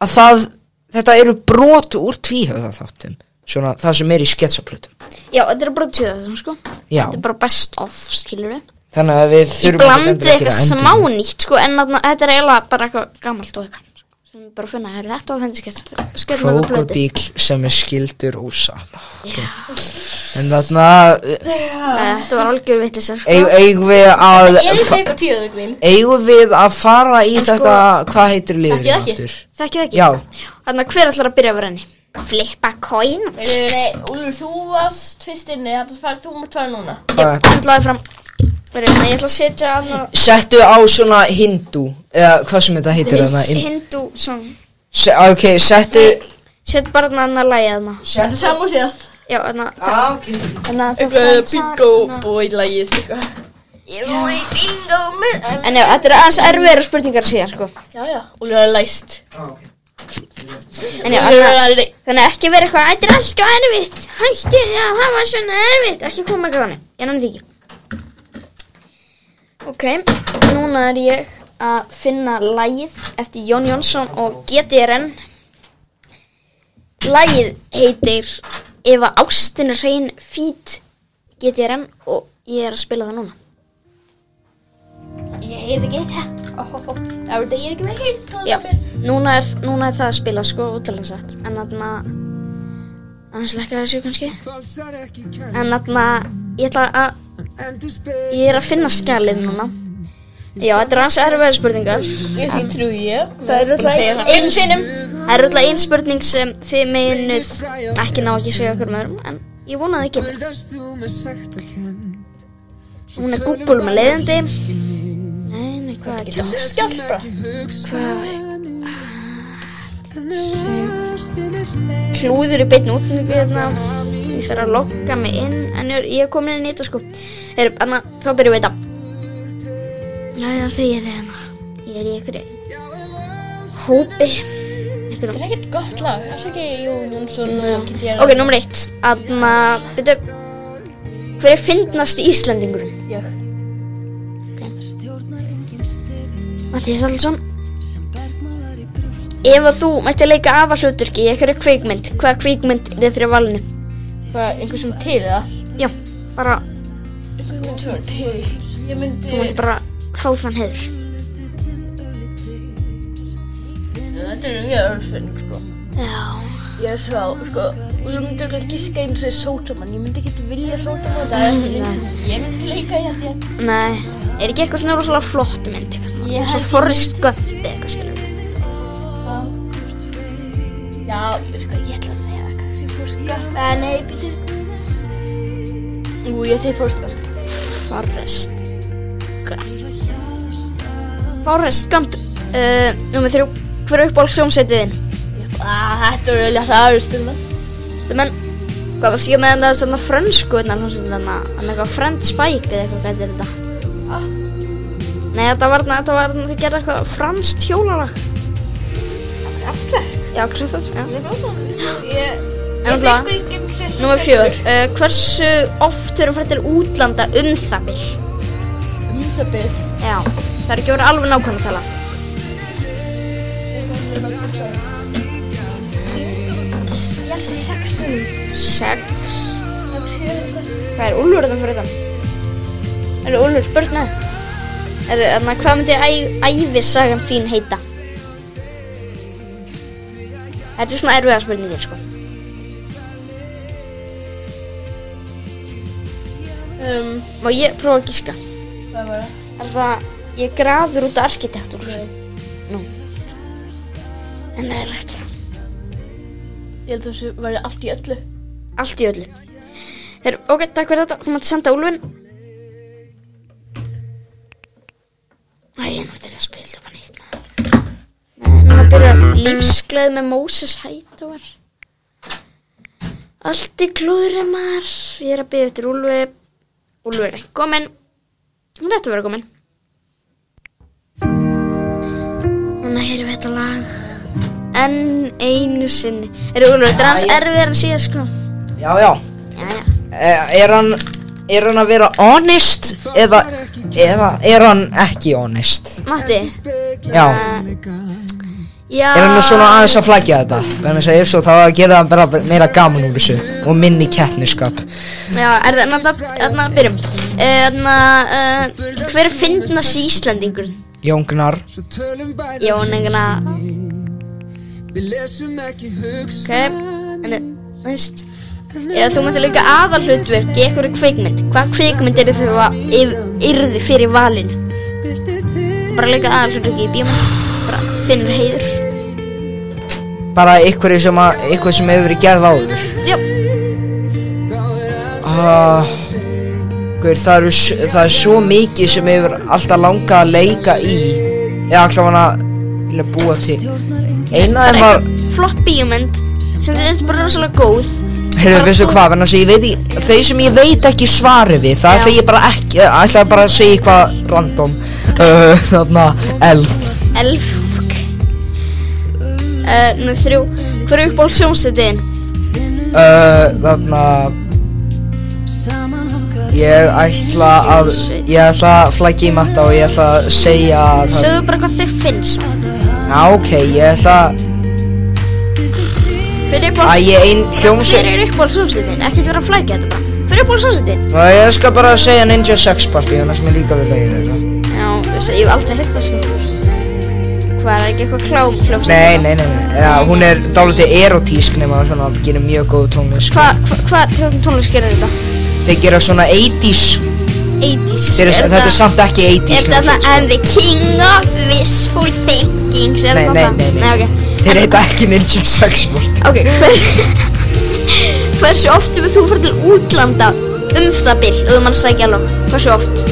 að það, þetta eru brot úr tvíhöða þáttum Svona það sem er í sketsaplutum
Já, þetta er bara tjóða þessum sko
Já,
Þetta er bara best of, skilur við
þannig að við
Ég
þurfum ekkert
blandið
endilega að gera
eitthvað smá
endurinn.
nýtt sko En þarna- þetta er eiginlega bara eitthvað gamalt og eitthvað sko, Sem við bara finna, er þetta var að finna skett Skett með það blöti
Krókodíl sem er skildur úr sama En þarna,
Þetta var algjör vitlis sko.
eigum eigum við að
Ég er í seik á tíðaðu mín
eigum við að fara í
En sko-
þetta, hvað heitir liðurinn
Ekki, ekki.
aftur?
Þekkið það ekki?
Já.
Þannig að hver ætlar að byrja að vera henni? Flippa coin
Nei, Úlfur, þú varst fyrst inni, þannig að fara- þú mátt fara núna
Bara-
Ég ætla að fram Byrja, nei, Ég ætla að setja annað
Settu á svona hindú, eða hvað sem þetta heitir þarna inn-
Hindu song
Se- Ok, settu
Sett bara annað annað lagið þarna
Þetta er saman síðast
Já, annað
Ah, ok.
Eitthvað bingo boy lagið eitthvað
En já, þetta er aðeins erfiðara spurningar síðan sko
Já, já, Úlfur er læst
En já,
Úlfur
alltaf
er að
Þannig að ekki vera eitthvað, þetta er alltaf erfitt Hættu, já, það var svona erfitt Ekki koma eitthvað þannig, ég nann því ekki Ok, núna er ég að finna lagið eftir Jón Jónsson og GTRN Lagið heitir Ef að ástin er hrein fít GTRN og ég er að spila það núna
Ég heyrði ekki það Óhóhó. Það voru degir ekki með
Já,
heyrðtólum
núna er, núna er það að spila sko útalega satt En þarna Annars lekkar þessu kannski
Falsar ekki kæm
En þarna Ég ætla að
Endur spil
Ég er að finna skjalið núna Já, þetta er hans erfiðar spurningar
Ég því trú ég
Það er
segja
alltaf
það
ein
einu sinni.
Það er alltaf ein spurning sem þið meginuð Ekki ná ekki að segja okkur með öðrum En ég vona að þið getur
Burðast þú með sagt að kend
Hún er Google með leiðandi Nei, nei, hvað er ekki
Skjálpa
Ekki hugsa En ástin er leið
Klúður í beinni útlendingu hérna Ég þarf að lokka mig inn En ég er, ég er komin inn í þetta sko Heru, anna, Þá byrjum við þetta Næja, þegi þið hérna Ég er í einhverju hópi
Þetta
ykkur um
er ekkert gott lag, það er ekki Jón Jónsson og Kitty Jarl.
Ok, nummer eitt Aðna, byrju Hver er fyndnast Íslendingurinn?
Ég.
Mattias Allsson Ef að þú mætti leika afa hlutverki í einhverju kvikmynd Hvaða kvikmynd er þér fyrir valinu?
Hvað, einhver sem til það?
Já, bara,
Einhver mynd sem er til. Ég myndi...
þú myndi bara fá þann heiður
Þetta er mjög örfinn, sko.
Já
Ég sá, sko, og ég myndi ekki gíska eins og ég sótamann. Ég myndi ekki vilja sótamann, það er ekki eins og ég myndi leika hérna. í þetta.
Nei, er ekki eitthvað svona rosalega flott mynd eitthvað svona
Ég
Svo
held ég-
Forrest Gump eða eitthvað skilur við.
Já, ég sko, ég ætla að segja það, kannski fórst gafn. Eða nei, býttu. Ú, ég segi fórst gafn.
Forrest Gump Forrest Gump uh, Númer þrjú Hver er uppáhald hljómsveitið þinn?
Þetta er alveg það örfinn, mann.
Vistu menn Hvað var því að með þetta svona frönsku Þannig hljómsveitin þannig að Þannig eitthvað Friend Spike eða eitthvað hvað er þetta
Ha?
Nei þetta var þarna- þetta var þarna þau gerðu eitthvað franskt hjólalag
Aftur.
Já, hversu það já.
Ég veit það. Ég...
En
Ég
alltaf-
veit sko ekki um þessu.
Númer fjör uh, Hversu oft eru fréttir útlanda um það bil?
Myndabil.
Já, það er ekki verið alveg nákvæmna tala.
Ég hef sér sexu.
Sex.
Ég hef sér eitthvað.
Hvað er Úlfur þetta fyrir þetta? Er Úlfur, spurt með? Er, þannig, hvað myndi æ, æfisagan þín heita? Þetta er svona erfiða spurningir, sko.
Um,
Má ég prófa að gíska?
hvað var það?
Er það, ég er graður út af arkitektúr. Nú. En það er rætt.
Ég held að þessu væri allt í öllu.
Allt í öllu. Her, ok, takk fyrir þetta. Þú mátt senda Úlfinn. Æ, nú þetta er að spila þetta bara neitt. maður. Núna byrjar lífsgleð með Moses Hightower Allt í klúðri maður Ég er að byggja eftir Úlfi Úlfi er ekki komin Hún er þetta að vera komin Núna heyrum við þetta lag Enn einu sinni Eru Úlfi, þetta er hans erfiðar en síðan sko
Já, já
Jæja
Eh, Er hann Er hann að vera honest Eða Eða Er hann ekki honest
Matti
Já
Já
Er hann nú svona aðeins að flækja þetta Þannig að segja ef svo þá að gera það bara meira gaman úr þessu Og minni kettniskap
Já, er það, þannig að- þannig að byrjum Eh, Þannig að, uh, hver er fyndnast í Íslandingurinn?
Jóngnar
Svo tölum bæði
Jón einhverna
Við lesum ekki hugsa
Ok, en þú veist Eða þú mætti líka aðal hlutverk í einhverju kveikmynd Hvað kveikmynd eru þau að yrði fyrir valinu?
Bildir til
Bara líka aðal hlutverk í bíómynd Bara þinnur heiður
Bara ykkur sem að Ykkur sem hefur verið gerð áður
Já,
Þá er allt
Ah, Guður, það, eru s- það er svo mikið sem hefur alltaf langað að leika í Eða allavega að vilja búa til Eina er
bara
var
einhver flott bíómynd sem þau veist bara rosalega góð
Heyrðu, veistu hvað, þannig að ég veit ekki Þau sem ég veit ekki svari við Það
Já.
ætla ég bara ekki, eh, ætla bara að segja eitthvað random uh, Þarna, elf
Elf Ok uh, Nú þrjú Hver er uppból sjónsetiðin?
uh, Þarna Ég ætla að Ég ætla að flækja í matta og ég ætla að segja að-
Segðu bara hvað þau finnst samt.
Já, ok, ég ætla
Hver
að
er uppból
ég ein hljómsveit
Hver er uppból sjónsetiðin? Ekkert vera að flækja þetta bara Hver er uppból sjónsetiðin?
Ná, ég skal bara segja Ninja Sex Party, þannig sem ég líka við leiði þetta.
Já, þú veist, ég hef aldrei hýrt það sko Hvað er ekki eitthvað klám klám
Nei, nei, nei, nei, ja, hún er dálítið erotísk nema svona að gera mjög góð tónlist.
Hvað, hvað, hvað hva, tónlist gerir þetta?
Þeir gera svona 80s,
80s
þeir, er, þetta er samt ekki
Er
80s.
þetta
hljómsveit,
þarna I'm the king of wishful thinking Er
Nei,
þetta
nei,
það?
nei, nei.
nei ok.
sko. Þeir heita ekki Ninja Sex Party.
Ok, hver, <laughs> hversu oft hefur þú fyrir til útlanda um það bil, ef þú mann sækja alveg, hversu oft?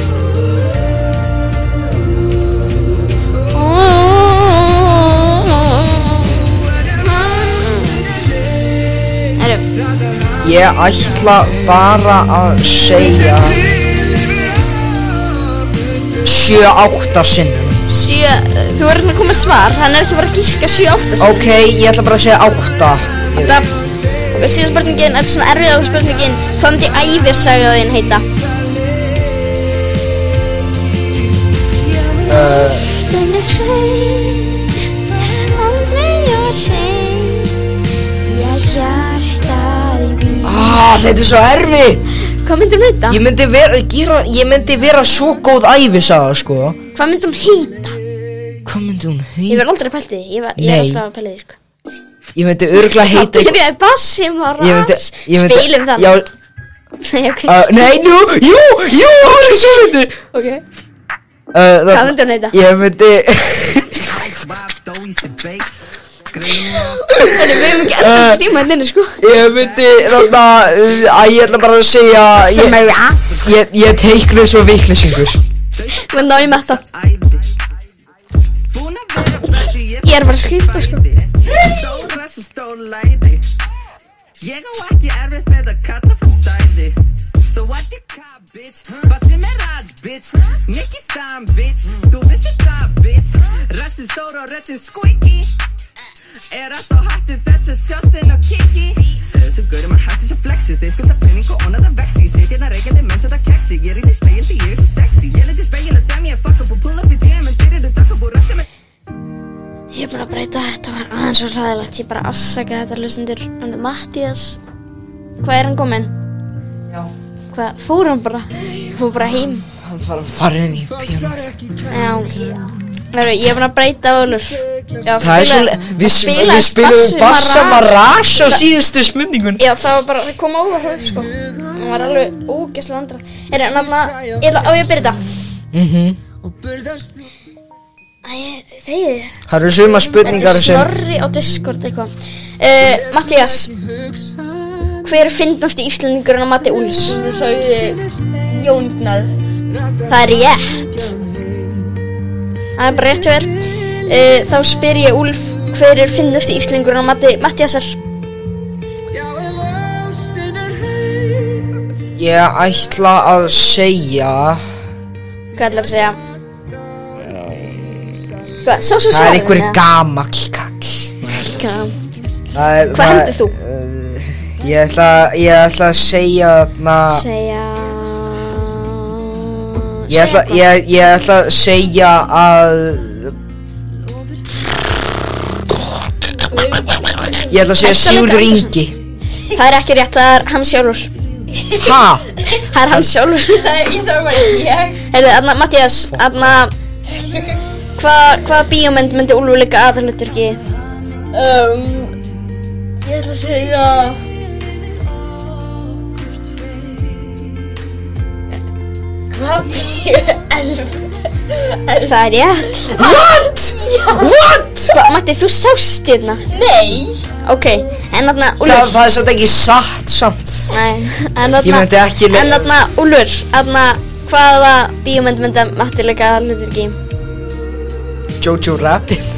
Herru,
Ég ætla bara að segja 7-8 sinnum.
sjö Þú verður að koma með svar, hann er ekki bara að gíska sjö átta sem
Ok, ég ætla bara að segja átta
Þetta, ok, síðan spurningin, þetta er svona erfiðar spurningin Hvað myndi æfisaga þín heita?
ah, Þetta er svo erfitt
Hvað myndi hún heita?
Ég myndi vera, gera, ég myndi vera svo góð æfisaga sko
Hvað myndi hún heita?
Hvað myndi hún
Ég
heita?
verð aldrei pælt í því, ég, var, ég er
Nei.
alltaf að pæla í því sko
Ég myndi örgla
Það
heita
byrjaði bassim og
Ég myndi,
ras
ég myndi
Spilum það
Já,
Nei, <laughs> ok,
uh, nei, nú, jú, jú, það er svo myndi
ok
uh,
Hvað myndi hún heita?
Ég myndi <laughs>
Þannig við höfum ekki
uh,
alltaf stíma henni sko
Ég myndi, þarna, uh, æ, ég ætla bara að segja Ég, ég, ég teikna svo vikleysingur
Þú verður náðu með þetta Ég er bara að skrifta sko
Stóra sem stóra læði Ég á ekki erfitt með að kalla fram sæði So what you cop, bitch Hvað sem er að, bitch Nicky Stein, bitch Þú vissir það, bitch Rassin stóra og röttin squeaky Er allt á hættu þess að sjást inn á kiki Þessu gaurum að hættu svo flexi Þeir skulda penning og onaða vexti Ég sit hérna reykjandi menn svo það keksi Ég er í því spegildi, ég er svo sexy Ég liti spegil að dæmi að fuck up og pull up í DM En þeir eru takk upp og rassin með
Ég er búin að breyta þetta var aðeins og hlæðilegt Ég bara afsaka þetta lusendur En það Mattias Hvað er hann kominn?
Já.
Hvað fór hann bara? Fór bara heim
Hann fara að fara inn í píanó
Já Veru, ég er búin að breyta Ólur Já,
Það er svo,
spilaði-
le- við,
spilaði
við spilum Bassa
Bassi Marash.
Marash á síðustu spurningun
Já, það var bara, það kom á höf sko Það var alveg ógæslega andra Er það náttúrulega, ég ætla- á ég að byrja þetta
Og burðast þú
Æ, þeir
Það eru suma
Þetta
spurningar
er
sem
snorri á Discord eitthvað uh, Mattias,
hugsa
hver er fyndnasti íslendingurinn á Matti Úls? Sagði Jónar Það er rétt Það er bara rétt hjá þér uh, Þá spyr ég Úlf Hver er fyndnasti íslendingurinn á Matti Mattiasar?
Já, ef ástin er heim
Ég ætla að segja
Hvað ætlar að segja? Hvað, sá
Það
svo
er
svarið,
einhver
eða?
gamall kall
Hvað-
Það er-
Hvað
það-
heldur þú?
Ég ætla, ég ætla að segja þarna
Segja
Ég ætla,
Segja
ég, ég ætla að segja að Ég ætla að segja
Ertu alveg
Sigurður
gamall?
Ingi
hvað? Það er ekki rétt, það er hann sjálfur
Ha?
Það er hann sjálfur
<laughs>
Ég þarf bara ég
Heyrðu, Anna, Mattias, Anna Hva, Hvaða bíómynd myndi Úlfur líka aðalutverki?
um, Ég ætla að segja Hvað <laughs> fyrir elf?
Það er rétt
What? What?
Hva, Matti, þú sást hérna
Nei
Ok, en þarna
Það,
Úlfur
það er svolítið ekki satt samt
Nei, en
Ég myndi
þarna
ekki
En þarna Úlfur, þarna Hvaða bíómynd myndi Matti líka aðalutverki?
Jojo Rabbit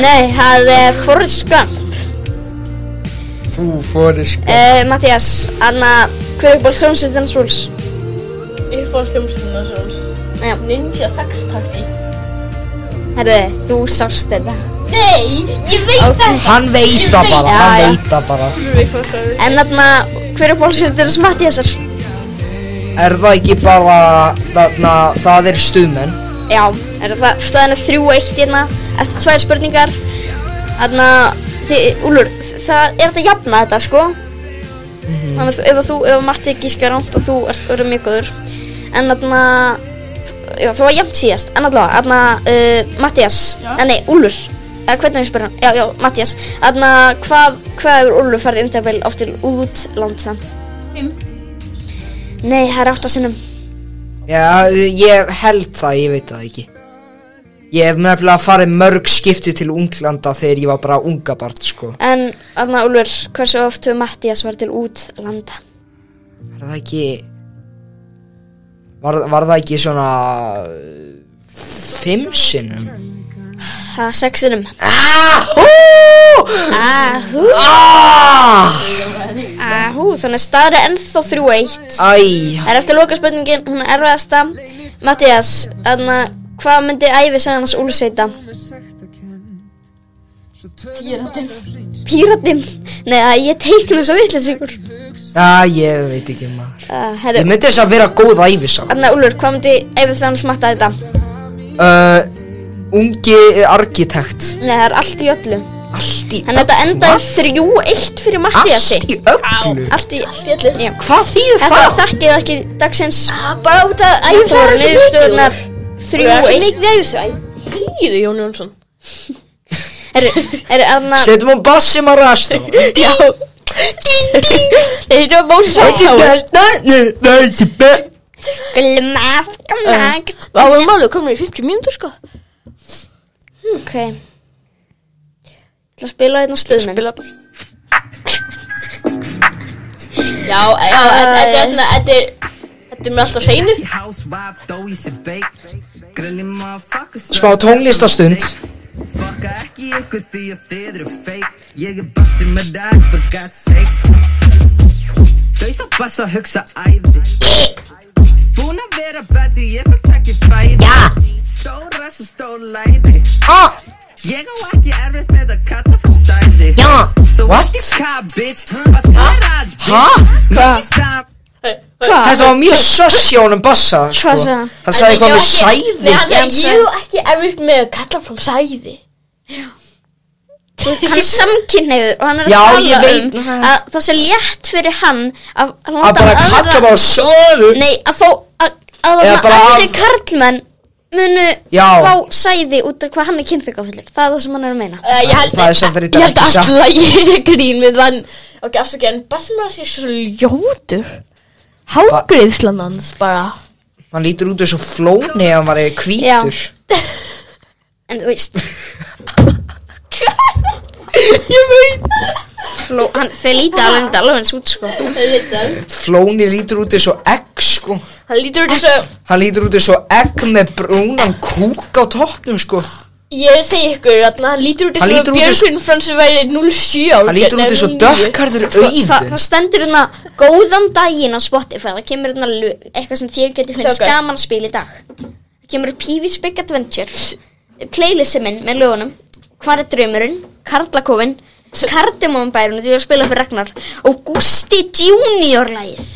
Nei, það er Forrest Gump
Þú fóri sko
uh, Mattias, Anna Hver er upp á sjónsveitin Svúls?
Ég fór hljómsveitina sjálfs
Já.
Ninja sexparty
Herðu, þú sást þetta
Nei, ég veit
Ok.
þetta
Hann veit það bara,
Já,
hann
já.
veit það bara
Ég veit hvað það er
En þarna, hver er upp á sjónsveitin Mattiasar?
Er það ekki bara, þarna, það er stuðmenn
Já, er það staðan er þrjú og eitt hérna eftir tvær spurningar Þannig að Úlur, það er þetta að jafna þetta sko Þannig að ef að þú, ef að Matti gískar rámt og þú ert verið mjög góður En þarna, já það var jafnt síðast En allavega, þarna uh, Mattias, en nei, Úlur Eða hvernig er ég spyr hann? Já, já, Mattias Þarna, hvað, hvað hefur Úlur farið umtafél oft til útlanda?
Fimm.
Nei, það er átt að sinnum
Já, ég held það, ég veit það ekki Ég hef nefnilega farið mörg skipti til Unglanda þegar ég var bara unga barn, sko
En, Anna Úlfur, hversu oft hefur Mattias var til útlanda?
Var það ekki Var, var það ekki svona uh, Fimm sinnum?
Það er sexinum.
Ahú!
Ahú,
Ah!
ahú, þannig að staðar er ennþá 3-1.
Æ,
Það er eftir loka spurningin, hún er erfiðasta. Mattias, Anna, Hvað myndi æfisagan hans úlseita?
Píratinn.
Píratinn? Nei, það- ég teikna svo vitlega sigur.
Já, ég veit ekki maður
Uh,
Ég
herru,
myndi þess að vera góð æfisa
Anna Úlfur, hvað myndi æfisagan hans matta þetta?
uh, Ungi arkitekt
Nei, það er allt í öllu.
Allt í
En þetta
öllu.
endaði
What?
3-1 fyrir Mattiasi.
Allt í öllu
Allt í öllu. Já.
Hvað þýðir
Þetta
það?
var þakkið ekki dagsins.
Bara út af
Þetta voru niðurstöðunar
Það er svo mikið
3-1.
þegar þessu Æ, hýðu Jón Jónsson
Herru, herru, Anna,
Setjum hún bassum að rasta
Já <laughs> Þeir hittu að Moses Tower
Þetta
glumma, glumma.
Það voru málu komin í 50 mínútur sko Uh.
Ok. Ég ætla að spila hérna stuðmynd.
Bila bara Já, já, þetta er hérna, þetta er Þetta er með alltaf hreinu
Housewife, though he should bake. Grilling motherfuckers.
Smá tónlistarstund.
Fucka ekki ykkur því að þið eru fake. Ég er bussin með dans for God's sake. Þau svo bassa að hugsa æði. Búin að vera bæti, ég fætt ekki fæði. Já. Stóra sem stóra læði.
Ah,
Ég á ekki erfitt með að kalla frá sæði.
já
So what
What?
this car bitch, bust my ass bitch.
Ha?
Make it stop.
Hvað?
Þetta var mjög söss hjá honum bassa sko.
Hvað sagði hann?
Hann sagði eitthvað með sæði
Nei, hann sagði, ég er ekki erfitt með að kalla fram sæði
hann er samkynniður og hann er að
Já, ég
tala
veit.
um að það sé létt fyrir hann að
Að
að láta
bara
aðra-
kalla bara sæði
nei, að fá að, að
Eða
þarna
bara að-
aðri karlmenn munu
Já.
fá sæði út af hvað hann er kynþökkafullir það er það sem hann er að meina
Uh, ég held,
Það er samt reyndar
ég held
ekki
að
satt.
alla <laughs> ég er grín við vann Ok, afsakið, en Basmar sé svo ljótur Hágriðslan hans bara
Hann lítur út þessu flóni að hann var eða hvítur
en þú veist,
Ég veit
fló, hann, þau líta alveg enda alveg eins út sko
Það veit það
Flóni lítur út þessu egg sko
Hann lítur út þessu
Hann lítur út þessu egg með brúnan kúk á toppnum sko
Ég segi ykkur, þarna, hann lítur út
Hann
þessu
lítur út eins-
Björgvin frans sem væri 07 ára
Hann lítur út þessu dökkarður
Sko, það,
auður
það stendur hérna góðan daginn á Spotify það kemur hérna lu- eitthvað sem þér getur finnst
Sjókar.
gaman að spila í dag það kemur Pívis Big Adventure playlisti minn með lögunum Hvar er draumurinn, Karlakofinn Kardemónbærun, þú er að spila fyrir Ragnar og Gusti Junior lagið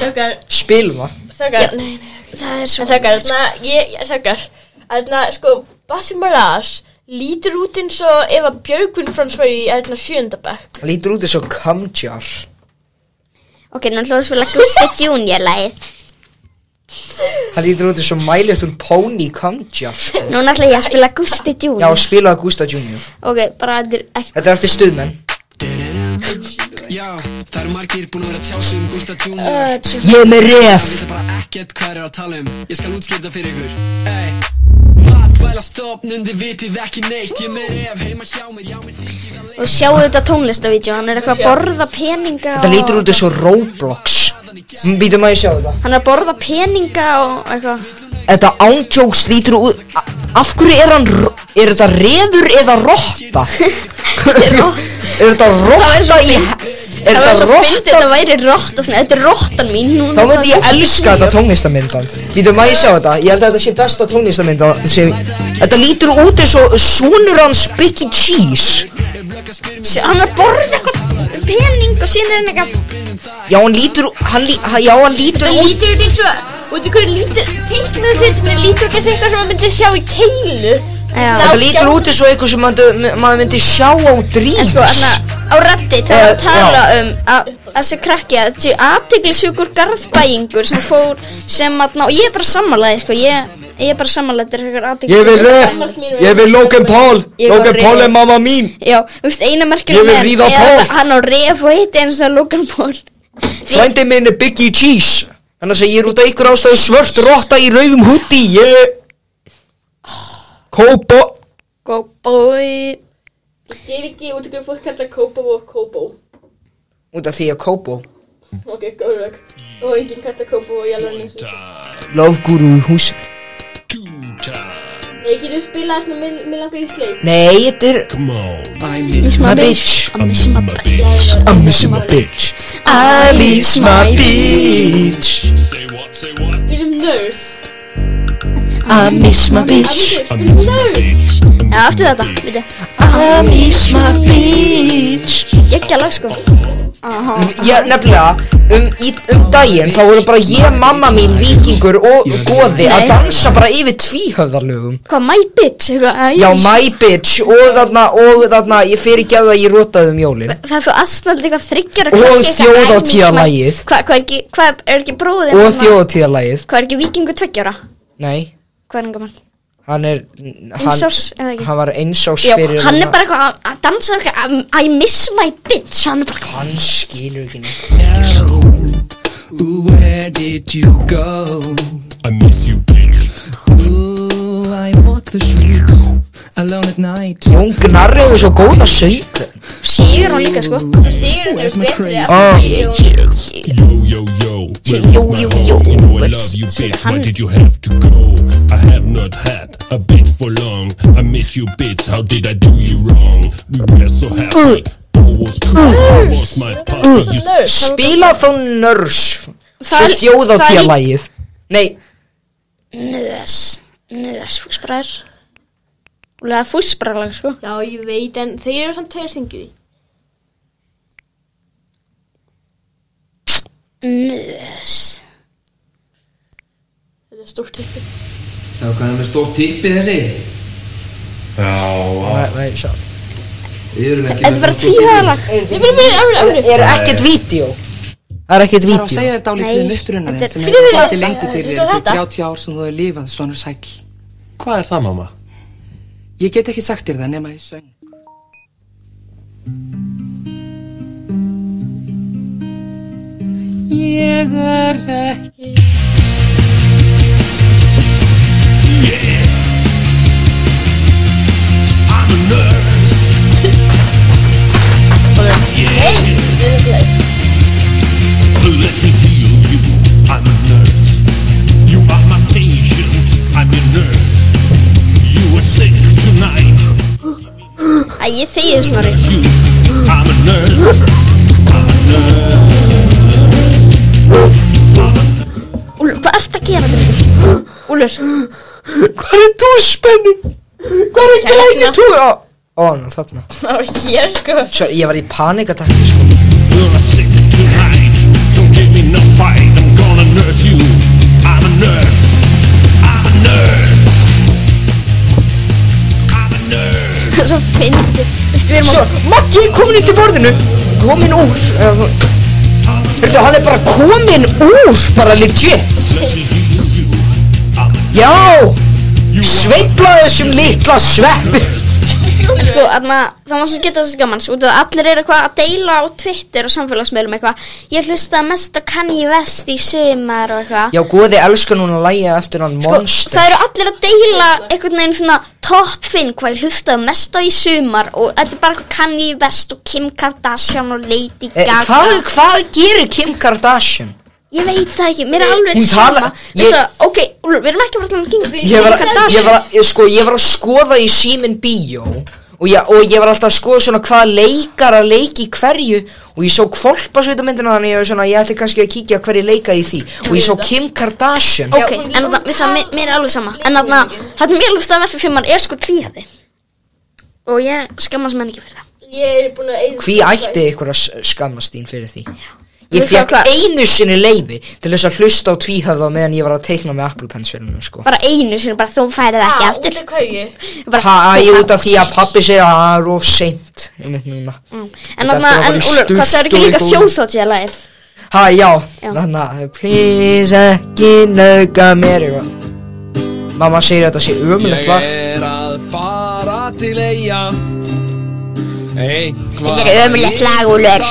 Þakkar,
Spilum það
þakkar
Já.
Nei, nei,
það er svo
En þakkar, þarna, ég, ég- þakkar Þarna, sko, Bassi Maras lítur út eins og ef að Björgvin frans væri í hérna, þarna sjöndabæk
Hann lítur út þessu kamjar
ok, nú ætlum við að spila Gusti Junior lagið
Hann lítur út þessu mælutur pony kamjar sko
núna ætla ég að spila Gusti
Já,
Junior
spilaði Gústa Junior
ok, bara þetta er ekki
Þetta er eftir stuðmenn
Já, það eru margir búin að vera að tjá sig um Gústa Junior
Ég er með ref
Vita bara ekkert hvað er að tala um Ég skal útskipta fyrir ykkur Ey Matvæla stopnun, þið vitið ekki neitt Ég er með ef heima hjá mér, já mér þykir að
og sjáu þetta tónlistavídeó, hann er eitthvað að borða peninga
Þetta
og-
lítur út þessu Roblox Býtum að ég sjá þetta
Hann er að borða peninga og eitthvað
Þetta ándjóks lítur út a- Af hverju er hann ro- Er þetta refur eða rotta?
<laughs>
er þetta rotta í Er
Það var
þetta
svo fyndið,
rotta
þetta væri rotta svona, Þetta er rottan mín
Þá myndi ég elska þetta tónlistamindband Býtum að ég sjá þetta Ég held að þetta sé besta tónlistamindband sem- Þetta lítur út eins og Sónur hans Biggie Cheese
tónlist Hann er að borða eitthvað pening og síðan er hann eitthvað
Já, hann lítur hann, lí, hann- Já, hann lítur
Það
út
lítur út eins og, út í hverju lítur Teiknaðu þeir sem lítur út eins og eitthvað sem maður myndi sjá í keilu
Já.
Þetta lítur út eins og eitthvað sem maður maður myndi sjá á
En
Dreams
sko, hann á Reddit Það var að
Eh,
tala
já.
um að að þessi krakki að Þessi aðteglisjúkur garðbæingur sem fór sem að ná Og ég er bara sammálaði, sko Ég, ég er bara sammálaði, þetta er eitthvað aðteglisjúkur
vil Logan Paul
Ég Logan var Paul ref. er
mamma mín
Já, þú veist, eina merkilega
Ég vil ríða á
með hann er
Pól.
að Hann á ref og heiti eins og Logan Paul
Frændi minn er Biggie Cheese Þannig að ég er út af ykkur ástæðu svört rotta í rauðum húti Ég Kópa
Go boy
Ég skil ekki út í hverju fólk kallar Kópó og Kópó
Út af því að Kópo
Ok, góð rögg. Og enginn kallar Kópó og ég alveg nýtt.
Love Guru í hús
Nei, getur spilað hérna með, með langar í sleik.
Nei, þetta er
Miss
my bitch
I miss my bitch
I'm missing my bitch I miss my bitch
Við erum nurse.
I miss my bitch
Já, aftur þetta, veitu
I miss my bitch
Gekkja lag, sko Aha.
Ég nefnilega, um, í, um daginn þá voru bara ég, mamma mín, vikingur og goði að
Nei.
dansa bara yfir tvíhöfðarlögum
Hvað, my bitch? Eitthvað, æ,
Já,
ég-
my bitch og þarna, og þarna, ég fyrir ekki að það ég rotaði um jólin
Það er svo aðsnald eitthvað þryggjara
Og þjóðhátíðarlagið.
Hvað hvað er ekki, hvað er ekki bróðin
Og þjóðtíðalagið
Hvað er ekki vikingu tveggjara?
Nei,
Hvað er hann gaman?
hann er, hann,
Einsás, eða ekki?
hann var einsás
Já,
fyrir
hann er bara eitthvað að- að dansa eitthvað um, I miss my bitch Hann er bara
Hann skilur ekki neitt
Ooh, where did you go?
I miss you, bitch.
Ooh, I want the streets Alone at night
Jón Gnarri hefur svo góða söng
Sigur hún líka, sko Sigur hún
Where's my crazy?
oh.
Ah.
Yo, yo, yo. Where is
yo,
my
yo,
hoe?
yo.
You know I
Where's-
love you, bitch. Why
Hun-
did you have to go? I have not had a bitch for long. I miss you, bitch. How did I do you wrong? We were so
Uh.
happy. All was cool. I was my partner. You
Spila þá nörs Svo
Það er-
þjóðatíðalagið Nei,
Nöðas Nöðas fúsbræður Úlega fúsbræðlag, sko
Já, ég veit, en þeir eru samt tveir syngið í.
Nöðas
Þetta er stórt tippi.
Já, hvað er með stórt tippi þessi? Við erum ekki
Þetta er bara tvíhæðalag
Ég fyrir, fyrir, alveg, alveg.
er ekkert vídeo Það er
Það
ekkert
er að
vídeo
segja þér dálítið um
Nei,
uppruna
þetta
þinn
er-
sem
Fyrir,
hefur
fyrir,
haldið lengi fyrir
fyrir
þér í
þetta.
30 ár sem þú hefur lifað, svonur sæll.
Hvað er það, mamma?
Ég get ekki sagt þér það nema ég söng. Ég er ekki
I'm a nurse. yeah. Let me heal you. I'm a nurse. You are my patient. I'm your nurse. You were sick tonight.
Æ, ég þegið snorri
You. I'm a nurse. I'm a nurse.
Úlfur, hvað ertu að gera þetta? Úlfur
Hvað er þú spennum? Hvað er
Hérna.
glæni þú? Ó, ná, þarna
<laughs> Það var hér, sko.
Sjá, ég var í panikatakki sko
You're sick tonight. Don't give me no fight. I'm gonna nurse you. I'm a nurse. I'm a nurse. I'm a nurse.
Svo fyndi Veistu, við erum
Sjá,
að
Maggi er komin út í borðinu Komin úr Þetta, hann er bara komin úr Bara legit Já Sveifla þessum litla sveppi
En sko, þarna, það var svo geta þessi gaman sko, út af að allir eru eitthvað að deila á Twitter og samfélagsmiðlum eitthvað Ég hlustaði mest á Kanye West í sumar og eitthvað
Já, góði elskar núna að læja eftir hann
Sko,
Monster
það eru allir að deila einhvern veginn svona top 5 hvað ég hlustaði mest á í sumar og þetta er bara eitthvað Kanye West og Kim Kardashian og Lady
Eh,
Gaga
hvað, hvað gerir Kim Kardashian?
Ég veit það ekki, mér er alveg
Hún
sama.
tala-
Ég...
ég-
Svo, ok, Úlfur, við erum ekki að fara að tala um Kim,
Ég var,
Kim
að- ég,
Kardashian
var að, ég, sko, ég var að skoða í síminn bíó og ég, og ég var alltaf að skoða svona hvaða leikar að leiki hverju og ég svo kvolpasveitamyndina þannig ég, var svona, ég ætti kannski að kíkja hverju leikaði í því og ég svo Kim Kardashian
Ok, en þarna, við það, mér, mér er alveg sama En þarna, þarna mér hlustaði mest fyrir mann er sko tvíhafi Og ég skammast menn ekki fyrir það
Ég er búin að eyða.
Hví ætti ykkur að s- skammast þín fyrir því? Ég
Við það
fekk einu sinni leifi til þess að hlusta á tvíhöfða á meðan ég var að teikna með Apple Pencilinu sko.
Bara einu sinni, bara þú færið það ekki
Út
aftur
af hverju?
bara,
Ha,
þú
ég
færð-
út af því að pappi segir að það er of seint einmitt núna.
Mm. En
Þetta
þarna,
eftir að
en
fara í
Úlur, hvað það er
sturtu
ekki
og í
líka
gólf.
þjóðþóttið að lagið
Ha, já,
Já.
þannig að please ekki nauka mér eitthvað. Mamma segir að þetta sé ömulegt
Ég
lag.
er að fara til eiga Einhvað
Þetta er ömurlegt lag, Úlfur.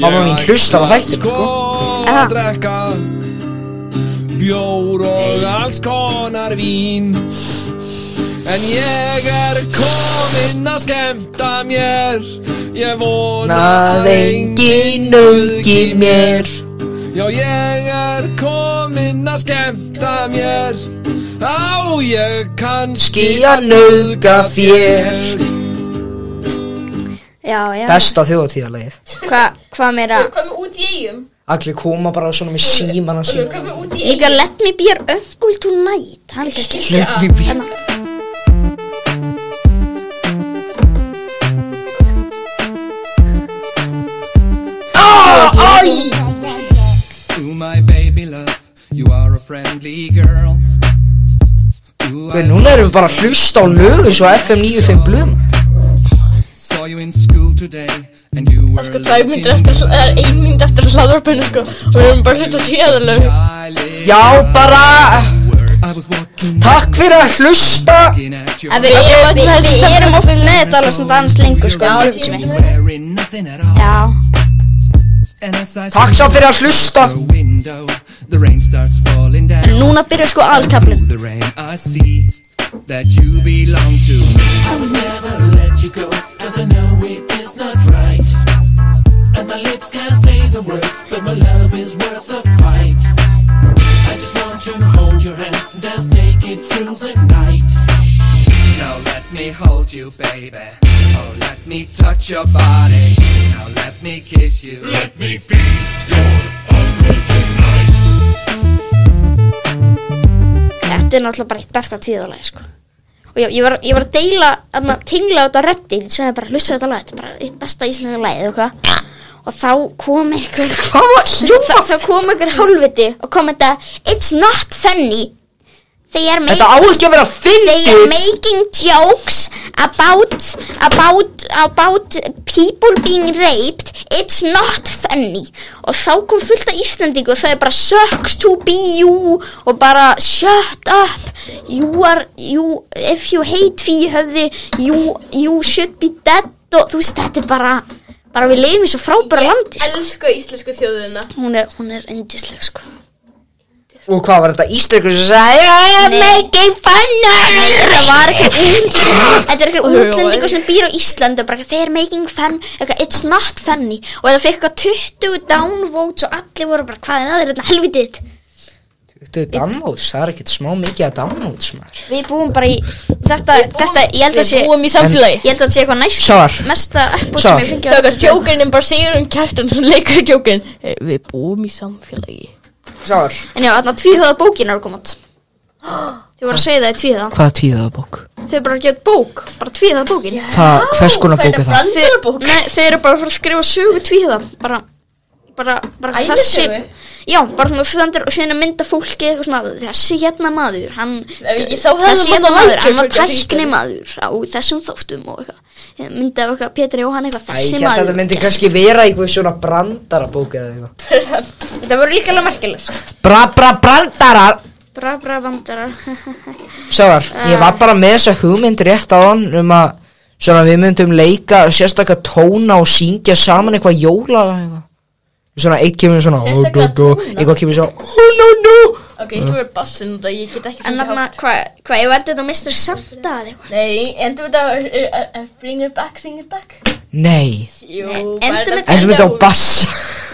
Mamma mín hlustar á þættina, sko.
Sko að drekka Bjór og alls konar vín En ég er kominn að skemmta mér Ég vona
Að enginn nauki mér.
Já, ég er kominn að skemmta mér Á, ég kannski
Ský að nauka þér.
Já, já,
Besta þjóðtíðarlegið.
hvað hva meira
Hvað með út í eigum?
Allir koma bara svona með símana sín
Komum út í
Líka let me be your uncle tonight Hann er líka ekki
Let me be
You my baby love, you are a friendly girl Ooh,
Guð,
I
Núna erum við bara að hlusta á lögu Svo FM 95 blöma
saw you in school today And you were
sko tvær myndir eftir eða ein mynd eftir hlaðvarpinu sko og við erum bara hlusta á tíðalög
shy little
Já, bara
I was walking
Takk fyrir að hlusta
in at your
En við, erum, við, við erum oft með þetta alveg svona dans lengur sko í klukkutími.
wearing nothing at all
Já,
And as I
Takk
saw
samt fyrir að hlusta
your window The rain starts falling
en
down
núna byrjar sko aðalkaflin
Through the rain I see that you belong to me Now let me hold you, baby. Oh, let me touch your body. Now let me kiss you.
Let me be your uncle tonight.
Þetta er náttúrulega bara eitt besta tíðalagi sko Og já, ég var, ég var að deila, að tingla á þetta röddinn sem er bara að hlusta á þetta lag Þetta er bara eitt besta íslenska lagið og hvað Og þá kom einhver
Hvað var
þá, þá kom einhver hálfviti og kom þetta It's not funny They are
Þetta
making,
á ekki að vera
they are
fyndið
making jokes about, about, about people being raped It's not funny Og þá kom fullt af Íslandingu og það er bara Sucks to be you Og bara shut up You are, you, if you hate fee höfði You, you should be dead Og þú veist þetta er bara Bara við lifum í svo frábæra landi sko.
Elsku íslensku þjóðina
Hún er, hún er indisleg sko
Og hvað var þetta íslensku sem sagði I am making fun of
Þetta var eitthvað Þetta er eitthvað
Oj, oj, oj.
útlendingur sem býr á Íslandu bara eitthvað, They're making fun eitthvað, It's not funny Og það fekk eitthvað 20 downvotes og allir voru bara Hvað er það er þetta helvitið
Þetta er downloads, það er ekkert smá mikið að downloads maður
Við búum bara í Þetta, þetta ég held að
Við
sé
búum í samfélagi
Ég held að þetta sé eitthvað næst
Svar.
Mesta uppbútt
Svar.
sem ég fengi
Svo okkar djókurinn er bara Sigurinn Kjartan sem leikur djókurinn Eh, Við búum í samfélagi
Sár
En já, þarna tvíhöða bókin er að koma út <gasps> Þau voru að segja það í tvíhöða
Hvað tvíðaða bók?
Þau eru bara að geta bók Bara tvíhöða bókin
Hvað, hvers konar bók er það?
Þau, nei, þau eru bara að fara að skrifa sögu tvíhöða bara, bara, bara
Ævisögu?
þessi já, bara svona stendur og síðan að mynda fólki og svona, þessi hérna maður hann,
Ef ég sá það,
þessi
það
hérna
var
maður,
margir
hann var
fólk að hringja
tækni
í.
maður á þessum þóttum og eitthvað myndið af eitthvað Pétur Jóhann eitthvað
Æ,
þessi
ég held að
maður
þetta myndi
gerst.
kannski vera einhver svona brandara bók eða eitthvað
þetta voru líka alveg merkilegt sko.
Bra, bra, brandarar
bra bra vandara
Sjáar, ég var bara með þessa hugmynd rétt á hann um að svona við myndum leika sérstaklega tóna og syngja saman eitthvað jólalag eitthvað. Svona eitt kemur svona oh,
Sérstaklega
go, go,
tóna?
eitthvað kemur svona oh no no
Ok, þú er bassin og það ég get ekki
<laughs> en
fengið
þarna,
hátt.
hvað, hvað, ég var þetta mistur samt að eitthvað
Nei, endur við þetta eh, eh, eh, Bring it back, sing it back
Nei,
Jú,
Nei,
bara
endum
þetta-
þetta-
erum við þetta á bass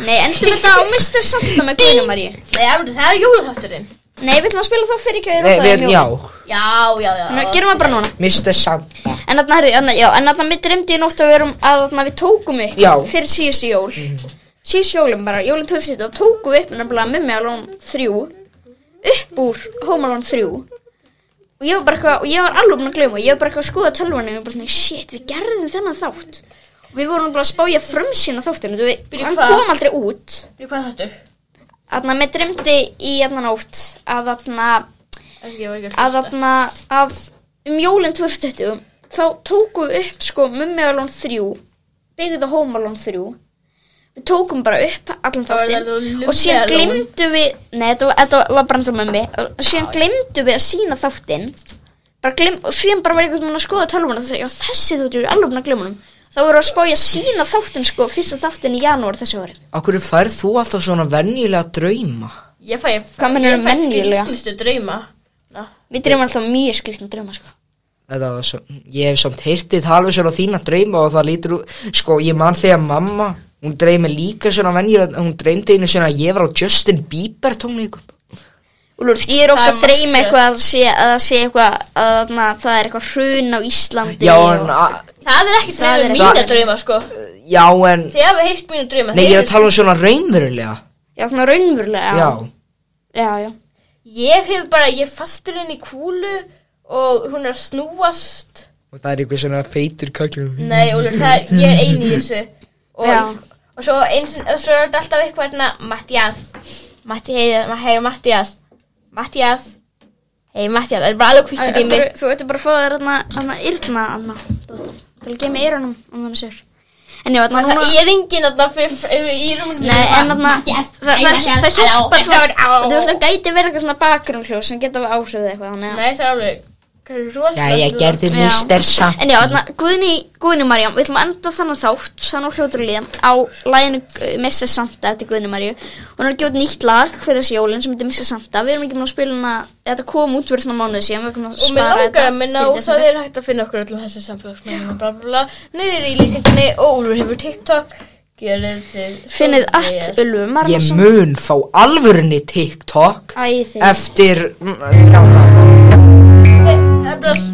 nei, endum þetta á mistur samt að með Guðinu Maríu
Nei, en það er jólahátturinn
nei, við ætlum að spila þá fyrir kjöður
Nei, við, Já,
Já, já, já
Þannig að gerum það bara núna
Mr. Santa
En þarna, herðu, þarna, já, en þarna mitt dreymdi ég nótt að við, erum, að þarna, við tókum upp
Já.
fyrir síðustu jól Síðustu jólum bara, jólum 2013 þá tókum við upp nefnilega Mimmi Alone 3 upp úr Home Alone 3 og ég var bara eitthvað, og ég var alveg búin að gleyma og ég var bara eitthvað að skoða tölvunni og ég var bara svona, shit, við gerðum þennan þátt og við vorum bara að spája frumsýna þáttinu þú veist,
Byrju,
hann
hvað?
kom aldrei út
Bíddu, Hvað þáttur?
Þarna, mér dreymdi í þarna nótt að þarna
Ok, ég var ekki
að
að hlusta
þarna að um jólinn 2020 þá tókum við upp sko Mummi Alone 3 byggðið á Home Alone 3 við tókum bara upp allan
Það var alveg
þáttinn
Mummi
og síðan
Alone.
glimtu við nei, þetta var, þetta var bara ennþá Mummi og síðan glimtu við að sína þáttinn bara glim, og síðan bara var eitthvað svona að skoða tölvuna og það, já, þessi þáttur eru alveg búin að glimma þá voru að spája sína þáttinn sko fyrsta þáttinn í janúar þessi ári
Akkur færð þú alltaf svona venjulega drauma?
Ég fæ
Hvað meinarðu
ég fæ
venjulega?
skrýtnustu drauma Na.
við dreymum alltaf mjög skrifnum drauma sko
Þetta var svo, ég hef samt heyrtið talvisur á þína drauma og það lítur út, sko, ég man þegar mamma, hún dreymir líka svona venjur, hún dreymdi einu svona að ég var á Justin Bieber tónleikum.
Úlur, ég er ofta
Það er
að dreyma
margt.
eitthvað að sé, að það sé eitthvað að na, það er eitthvað hrun á Íslandi
Já,
og-
en, a,
Það er ekkert
Það
það
er
er
ekki-
mína drauma sko
já, en,
Þið hafa heyrt mína drauma
nei,
þeir
ég er
eru-
að tala um svona raunverulega.
Já, svona raunverulega
Já,
Já, já
Ég hef bara, ég er fastur inn í kúlu og hún er að snúast
og það er einhver svona feitur kökkur
Nei, Úlfur, það er, ég er ein í þessu Og,
Já.
og svo eins og svo er þetta alltaf eitthvað hérna Mattias Matti, hei, hei Mattias Mattias Hei Mattias, það er bara alveg kvítt í
Þú
grími
þú veitir bara að fá þér hana, hana yrna hana, dót, til að geima eyrunum um þannig sér En já, hana,
Það
hún
er enginn þarna fyrir- fyrir- í rúminu
Nei, en þarna
Mattias,
það- það-
Mattias,
það hjálpar
halló, þetta var- á.
Þú veist, það gæti verið eitthvað svona bakgrunnhljóð sem geta áhrifðið eitthvað þannig, að-
Nei, það er alveg hvað er rosalega
Já, ég
rosalega-
gerði
Já.
mister samt
En já, þarna, Guðni, Guðni Marjám, við ætlum að enda þannig þátt þannig á hljótur líðan á læginu eh, Missa Santa eftir Guðni Marju og hún er að gjóta nýtt lag fyrir þessi jólin sem heitir Missa Santa, við erum ekki búin að spila hana þetta kom út fyrir svona mánuð síðan við erum að
Og mér
spara
langar
þetta
að minna
fyrir
og það
desember.
er hægt að finna okkur öllum þessu samfélagsmiðlum og bla bla bla niður í lýsingunni og Úlfur hefur TikTok Gjörðu þið
Finnið allt Ulfu
Ég
Marjansson
mun fá alvörunni TikTok
Æ, þið
eftir mm, þrjá daga
Eflas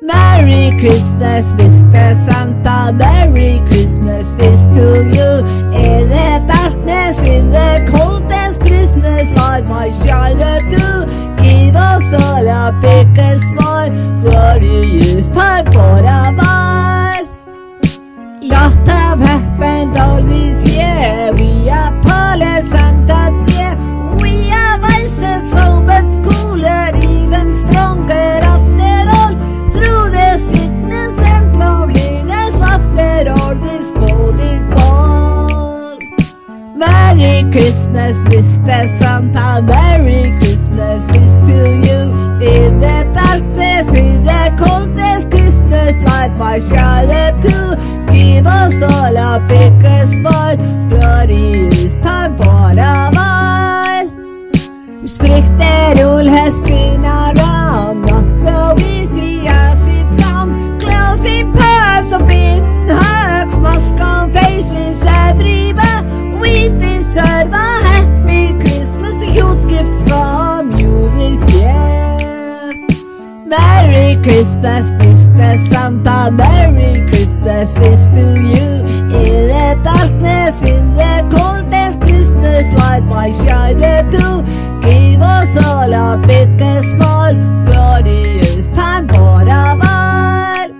Merry Christmas, Mr. Santa. Merry Christmas, wish to you. In the darkness, in the coldest Christmas night, my child do. Give us all a big smile. For it is time for a while. Lot have happened all this year. We are taller Santa dear. We are wiser, so much cooler, even stronger after all. Through the sickness and loneliness, after all this cold is gone. Merry Christmas, Mr. Santa. Merry Christmas, wish to you. In the darkness, in the coldest Christmas light, my shadow too. Give us all a big smile. Bloody is time for a while. Stricter rule has been around, not so easy as it sounds. Closing pubs, open hugs, mask on faces everywhere. We deserve a happy Christmas, huge gifts from you this year. Merry Christmas, Mr. Santa. Merry Christmas, wish to you. In the darkness, in the coldest Christmas light, my shadow too. Give us all a big and small, glorious time for a while.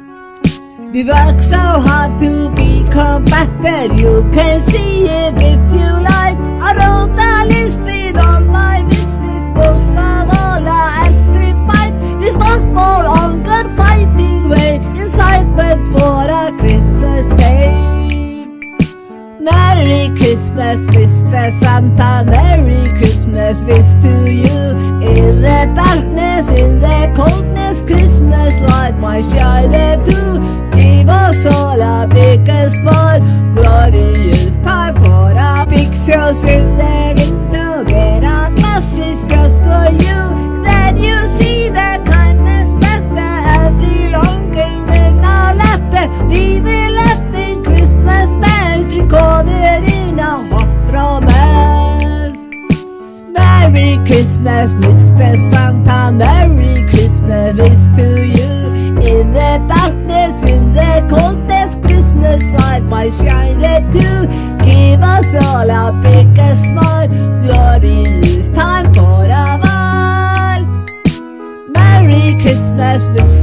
We work so hard to become better. You can see it if you like. I wrote a list with all my wishes, most of all I electrified. It's not more longer fighting way inside, but for a Christmas day. Merry Christmas, Mr. Santa. Merry Christmas, wish to you. In the darkness, in the coldness, Christmas light, my shine too. Give us all a big and small, glorious time for a pixels in the window. Get a glasses just for you. Then you see the kindness better every longing in our laughter. We will laugh in Christmas dance, recovered in a hot romance. Merry Christmas, Mr. Santa. Merry Christmas wish to you. In the darkness, in the coldest Christmas light, my shine too. Give us all a big smile. Glorious time for a while. Merry Christmas, Mr.